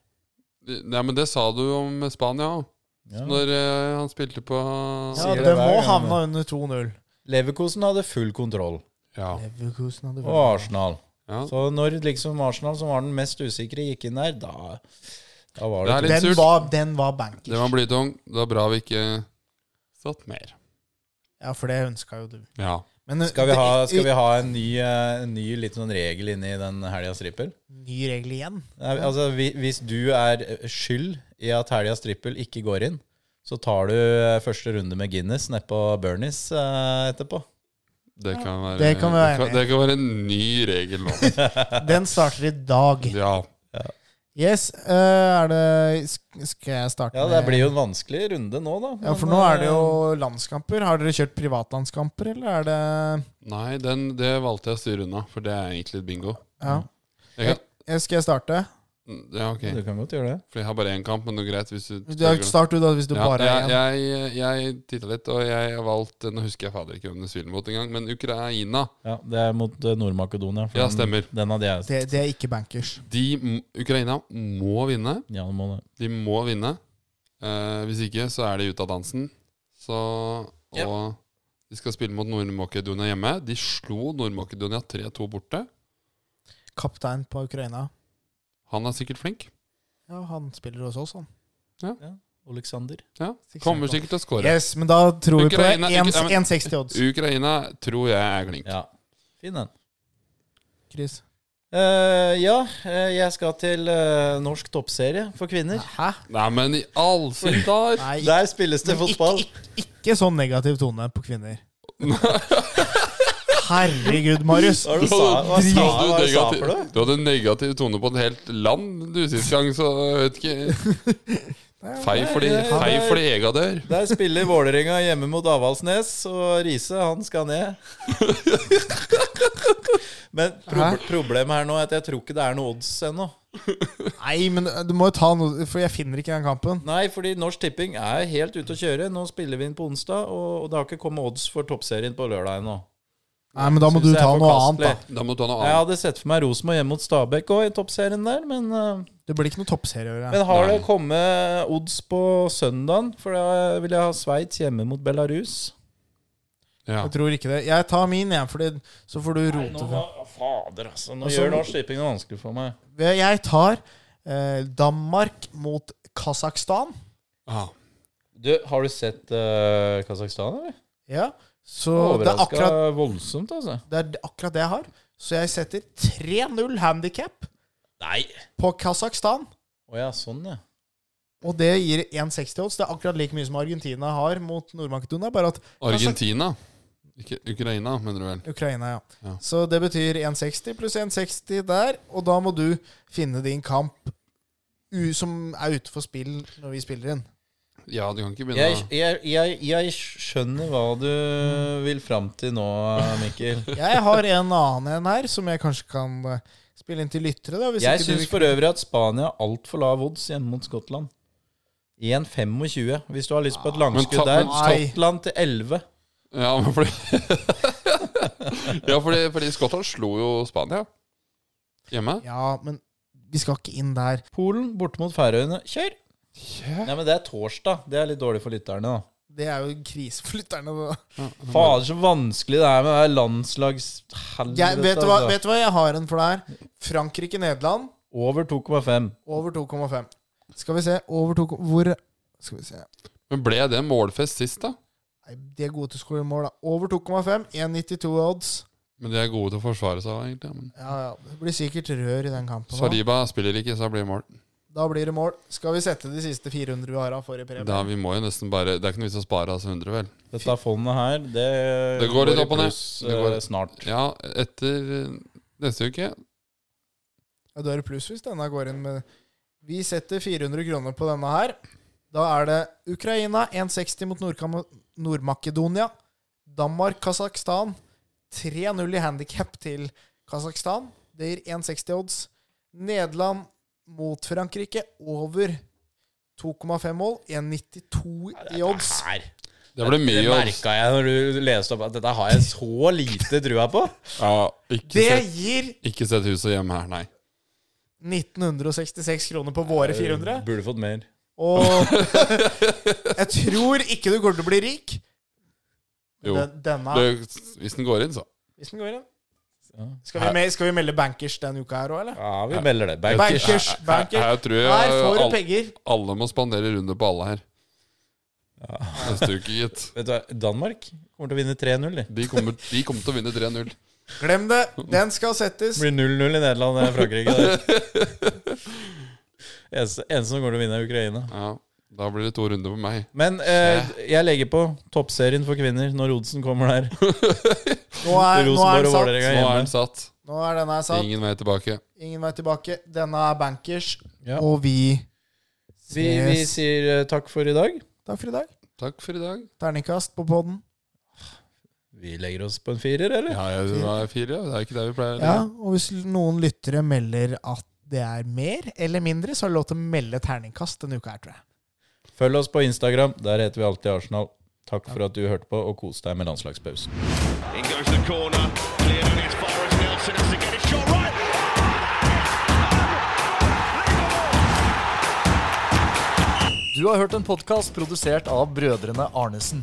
Speaker 1: Nei, men det sa du om Spania òg.
Speaker 3: Ja.
Speaker 1: Når eh, han spilte på
Speaker 2: Ja,
Speaker 3: Sier det
Speaker 2: det
Speaker 3: hver
Speaker 2: må
Speaker 3: gang,
Speaker 2: havne under 2-0.
Speaker 3: Leverkosen hadde full kontroll,
Speaker 1: Ja.
Speaker 2: Leverkusen hadde
Speaker 3: og
Speaker 2: vunnet.
Speaker 3: Arsenal.
Speaker 1: ja.
Speaker 3: Så når liksom Arsenal, som var den mest usikre, gikk inn der, da, da var
Speaker 1: Det
Speaker 3: det
Speaker 1: er litt
Speaker 2: Den
Speaker 1: surt.
Speaker 2: var, den var
Speaker 1: Det var
Speaker 2: bankers.
Speaker 1: blytung. Det var bra vi ikke satt mer.
Speaker 2: Ja, for det ønska jo du.
Speaker 1: Ja.
Speaker 2: Men, eh,
Speaker 3: Skal vi ha,
Speaker 2: det-
Speaker 3: skal vi ha en, ny, eh, en ny litt sånn regel inne i den helgas trippel?
Speaker 2: Ny regel igjen.
Speaker 3: Nei, Altså, hvi- hvis du er eh, skyld i at helgas trippel ikke går inn, så tar du eh, første runde med Guinness nedpå Bernies eh, etterpå.
Speaker 1: Det kan være,
Speaker 2: Det kan vi
Speaker 1: det, kan,
Speaker 2: være enig i.
Speaker 1: det kan være en ny regel nå.
Speaker 2: <laughs> Den starter i dag.
Speaker 1: Ja.
Speaker 2: Yes, eh, er det sk- Skal jeg starte
Speaker 3: Ja, det blir jo en vanskelig runde nå, da.
Speaker 2: Ja, for nå er det jo landskamper. Har dere kjørt privatlandskamper, eller er det
Speaker 1: Nei, den, det valgte jeg å styre unna, for det er egentlig et bingo.
Speaker 2: Ja.
Speaker 1: Jeg kan,
Speaker 2: Eh, Skal jeg starte?
Speaker 1: ja, ok.
Speaker 3: eh, Du kan godt gjøre det.
Speaker 1: For jeg har bare én kamp, men det er greit hvis du
Speaker 2: Du har- Start du, da, hvis du
Speaker 1: ja,
Speaker 2: bare
Speaker 1: jeg,
Speaker 2: er én.
Speaker 1: jeg, jeg titta litt, og jeg har valgt Nå husker jeg fader ikke hvem det spiller mot engang, men Ukraina.
Speaker 3: Ja, det er mot eh, Nord-Makedonia. for
Speaker 1: Ja,
Speaker 3: den-
Speaker 1: stemmer.
Speaker 3: Den hadde jeg.
Speaker 2: Det, det er ikke bankers.
Speaker 1: De, m- Ukraina må vinne.
Speaker 3: Ja, nå må det.
Speaker 1: De må vinne. Eh, hvis ikke, så er de ute av dansen. Så Og de skal spille mot Nord-Makedonia hjemme. De slo Nord-Makedonia 3-2 borte.
Speaker 2: Kaptein på Ukraina.
Speaker 1: Han er sikkert flink.
Speaker 2: Ja, han spiller hos oss, han.
Speaker 3: Oleksander.
Speaker 1: Ja. Kommer sikkert til å skåre.
Speaker 2: Yes, men da tror vi på det.
Speaker 1: Ukraina-
Speaker 2: En-
Speaker 1: Ukra- men-
Speaker 2: 1,60 odds.
Speaker 1: Ukraina tror jeg er klink.
Speaker 3: Ja. Fin den.
Speaker 2: Chris.
Speaker 3: Eh, ja, eh, jeg skal til eh, norsk toppserie for kvinner.
Speaker 2: Hæ?
Speaker 1: Nei, men i all sin dar!
Speaker 2: Nei, ikke,
Speaker 3: Der spilles det fotball.
Speaker 2: ikke, ikke, ikke sånn negativ tone på
Speaker 1: <laughs>
Speaker 2: kvinner. Herregud, Marius.
Speaker 3: Hva sa hva
Speaker 1: Du
Speaker 3: sa- hva
Speaker 1: hadde
Speaker 3: sa
Speaker 1: negativ-
Speaker 3: for noe?
Speaker 1: du hadde en negativ tone på et helt land du sist gang, så jeg vet ikke Fei fordi,
Speaker 3: <laughs> Nei, nei,
Speaker 1: fei
Speaker 3: nei.
Speaker 1: fordi ega dør.
Speaker 3: Der spiller Vålerenga hjemme mot Avaldsnes, og Riise, han skal ned. Men prob problemet her nå er at jeg tror ikke det er noe odds ennå.
Speaker 2: Nei, men du må jo ta noe For jeg finner ikke den kampen.
Speaker 3: Nei, fordi Norsk Tipping er helt ute å kjøre. Nå spiller vi inn på onsdag, og, og det har ikke kommet odds for toppserien på lørdag ennå.
Speaker 2: Nei, men da må
Speaker 3: Synes
Speaker 2: du
Speaker 3: jeg er
Speaker 2: ta noe annet,
Speaker 3: forkastelig.
Speaker 2: da.
Speaker 1: Da må du ta noe
Speaker 3: Jeg
Speaker 1: annet.
Speaker 3: hadde sett for meg Rosenborg hjemme mot Stabæk òg i toppserien der, men, eh,
Speaker 2: Det blir ikke noe toppserie å gjøre.
Speaker 3: men har
Speaker 1: Nei.
Speaker 3: det kommet odds på søndagen? For da vil jeg ha Sveits hjemme mot Belarus.
Speaker 1: Ja.
Speaker 2: Jeg tror ikke det. Jeg tar min, jeg, fordi så får du rote fra.
Speaker 3: fader, altså. Nå
Speaker 2: Altså, gjør
Speaker 3: Norsk Tipping det vanskelig for meg.
Speaker 2: Jeg tar eh, Danmark mot Kasakhstan.
Speaker 1: Ah.
Speaker 3: Du, har du sett eh, Kasakhstan, eller?
Speaker 2: Ja. Så det er,
Speaker 3: Overraska
Speaker 2: akkurat,
Speaker 3: voldsomt, altså.
Speaker 2: det er akkurat det jeg har. Så jeg setter 3-0 handikap
Speaker 3: Nei!
Speaker 2: på Kasakhstan.
Speaker 3: Å ja, sånn, ja.
Speaker 2: Og det gir 1,60 odds. Det er akkurat like mye som Argentina har mot Nord-Makedonia. Bare at
Speaker 1: Argentina. Ikke Ukraina, mener du vel.
Speaker 2: Ukraina, ja.
Speaker 1: Ja.
Speaker 2: Så det betyr 1,60 pluss 1,60 der, og da må du finne din kamp u som er ute for spill når vi spiller inn.
Speaker 1: Ja, du kan ikke begynne
Speaker 3: Jeg, jeg, jeg, jeg skjønner hva du vil fram til nå, Mikkel.
Speaker 2: Jeg har en annen en her som jeg kanskje kan eh, spille inn til lyttere, da. <laughs> Hvis
Speaker 3: Jeg
Speaker 2: ikke du
Speaker 3: syns
Speaker 2: vil-
Speaker 3: for øvrig at Spania har altfor lav odds hjemme mot Skottland. 1,25 hvis du har lyst på et
Speaker 1: Ah. Men
Speaker 3: langskudd
Speaker 1: ta-
Speaker 3: der.
Speaker 2: Nei.
Speaker 3: Skottland til 11.
Speaker 1: å Ja, men fordi <laughs> Ja, fordi, fordi Skottland slo jo Spania hjemme.
Speaker 2: Ja, men vi skal ikke inn der.
Speaker 3: Polen borte mot Færøyene. Kjør! Nei, men det er torsdag. Det er litt dårlig for lytterne, da.
Speaker 2: Det er jo en krise for lytterne. da.
Speaker 3: Fader, så vanskelig det er med det her landslags...
Speaker 2: Jeg, vet, du hva,
Speaker 3: altså.
Speaker 2: vet du hva jeg har en for deg her? Frankrike-Nederland
Speaker 3: Over 2,5.
Speaker 2: over 2,5. Skal vi se over 2, Hvor Skal vi se.
Speaker 1: Men ble det målfest sist, da?
Speaker 2: Nei, de er gode til å skåre mål, da. Over 2,5. 1,92 odds.
Speaker 1: Men de er gode til å forsvare seg, egentlig. Men
Speaker 2: Ja, ja. Det blir sikkert rør i den kampen. nå.
Speaker 1: Saliba spiller ikke, så det blir mål.
Speaker 2: Da blir det mål. Skal vi sette de siste 400 vi har av forrige premie?
Speaker 1: Da, vi må jo nesten bare Det er ikke noe vits å spare altså 100, vel?
Speaker 3: Dette fondet her, det,
Speaker 1: Det går litt
Speaker 3: i
Speaker 1: opp og ned.
Speaker 3: pluss,
Speaker 1: Det går-
Speaker 3: eh, snart.
Speaker 1: Ja, etter eh, neste uke
Speaker 2: Ja, da er det pluss hvis denne går inn med Vi setter 400 kroner på denne her. Da er det Ukraina 1,60 mot Nordkam- Nord-Makedonia. Danmark, Kasakhstan. 3-0 i handikap til Kasakhstan. Det gir 1,60 odds. Nederland mot Frankrike over 2,5 mål. 1,92 i odds.
Speaker 3: Her.
Speaker 1: Det ble
Speaker 3: Det
Speaker 1: mye odds.
Speaker 3: merka jeg når du leste opp at dette har jeg så lite trua på.
Speaker 1: Ja, ikke,
Speaker 2: Det
Speaker 1: sett,
Speaker 2: gir
Speaker 1: ikke sett huset hjemme her, nei.
Speaker 2: 1966 kroner på våre 400.
Speaker 3: Eh, Burde fått mer.
Speaker 2: Og <laughs> jeg tror ikke du kommer til å bli rik.
Speaker 1: Jo.
Speaker 2: Den- Denne,
Speaker 1: Det, hvis den går inn, så.
Speaker 2: hvis den går inn.
Speaker 3: Ja.
Speaker 2: Skal vi, me- skal vi melde bankers denne uka her òg, eller?
Speaker 3: Ja, vi melder det. Bankers.
Speaker 2: Bankers,
Speaker 1: Her,
Speaker 2: bankers.
Speaker 1: her tror jeg
Speaker 2: Her får du
Speaker 1: alle,
Speaker 2: penger.
Speaker 1: alle må spandere runde på alle her. Neste uke, gitt.
Speaker 3: Vet du hva, Danmark kommer til å vinne 3-0. de.
Speaker 1: De kommer, de kommer til å vinne 3-0.
Speaker 2: Glem det. Den skal settes.
Speaker 3: Det blir 0-0 i Nederland og Frankrike.
Speaker 1: <laughs>
Speaker 3: Det. Eneste, eneste som kommer til å vinne, er Ukraina.
Speaker 1: Ja, da blir det to runder på meg.
Speaker 3: Men eh, jeg legger på toppserien for kvinner når Odsen kommer der.
Speaker 2: Nå er, nå er
Speaker 3: Rosenborg
Speaker 1: Nå er
Speaker 2: den satt.
Speaker 3: og Vålerenga hjemme.
Speaker 1: den satt.
Speaker 2: Nå er denne her satt.
Speaker 1: Ingen vei tilbake.
Speaker 2: Ingen vei tilbake. Denne er bankers,
Speaker 3: Ja.
Speaker 2: og vi
Speaker 3: Vi,
Speaker 2: ses.
Speaker 3: vi sier eh, takk for i dag.
Speaker 2: Takk for i dag.
Speaker 1: Takk for i dag.
Speaker 2: Terningkast på poden.
Speaker 3: Vi legger oss på en firer, eller?
Speaker 1: Ja, jeg, det var fire. Det er ikke det vi pleier å
Speaker 2: Ja,
Speaker 1: gjøre.
Speaker 2: og hvis noen lyttere melder at det er mer eller mindre, så har du lov til å melde terningkast denne uka her, tror jeg.
Speaker 3: Følg oss på Instagram. Der heter vi alltid Arsenal. Takk for at du hørte på, og kos deg med landslagspausen.
Speaker 4: In goes the corner, cleared and it's Forrest Nelson has to get it shot right.
Speaker 5: Du har hørt en podkast produsert av brødrene Arnesen.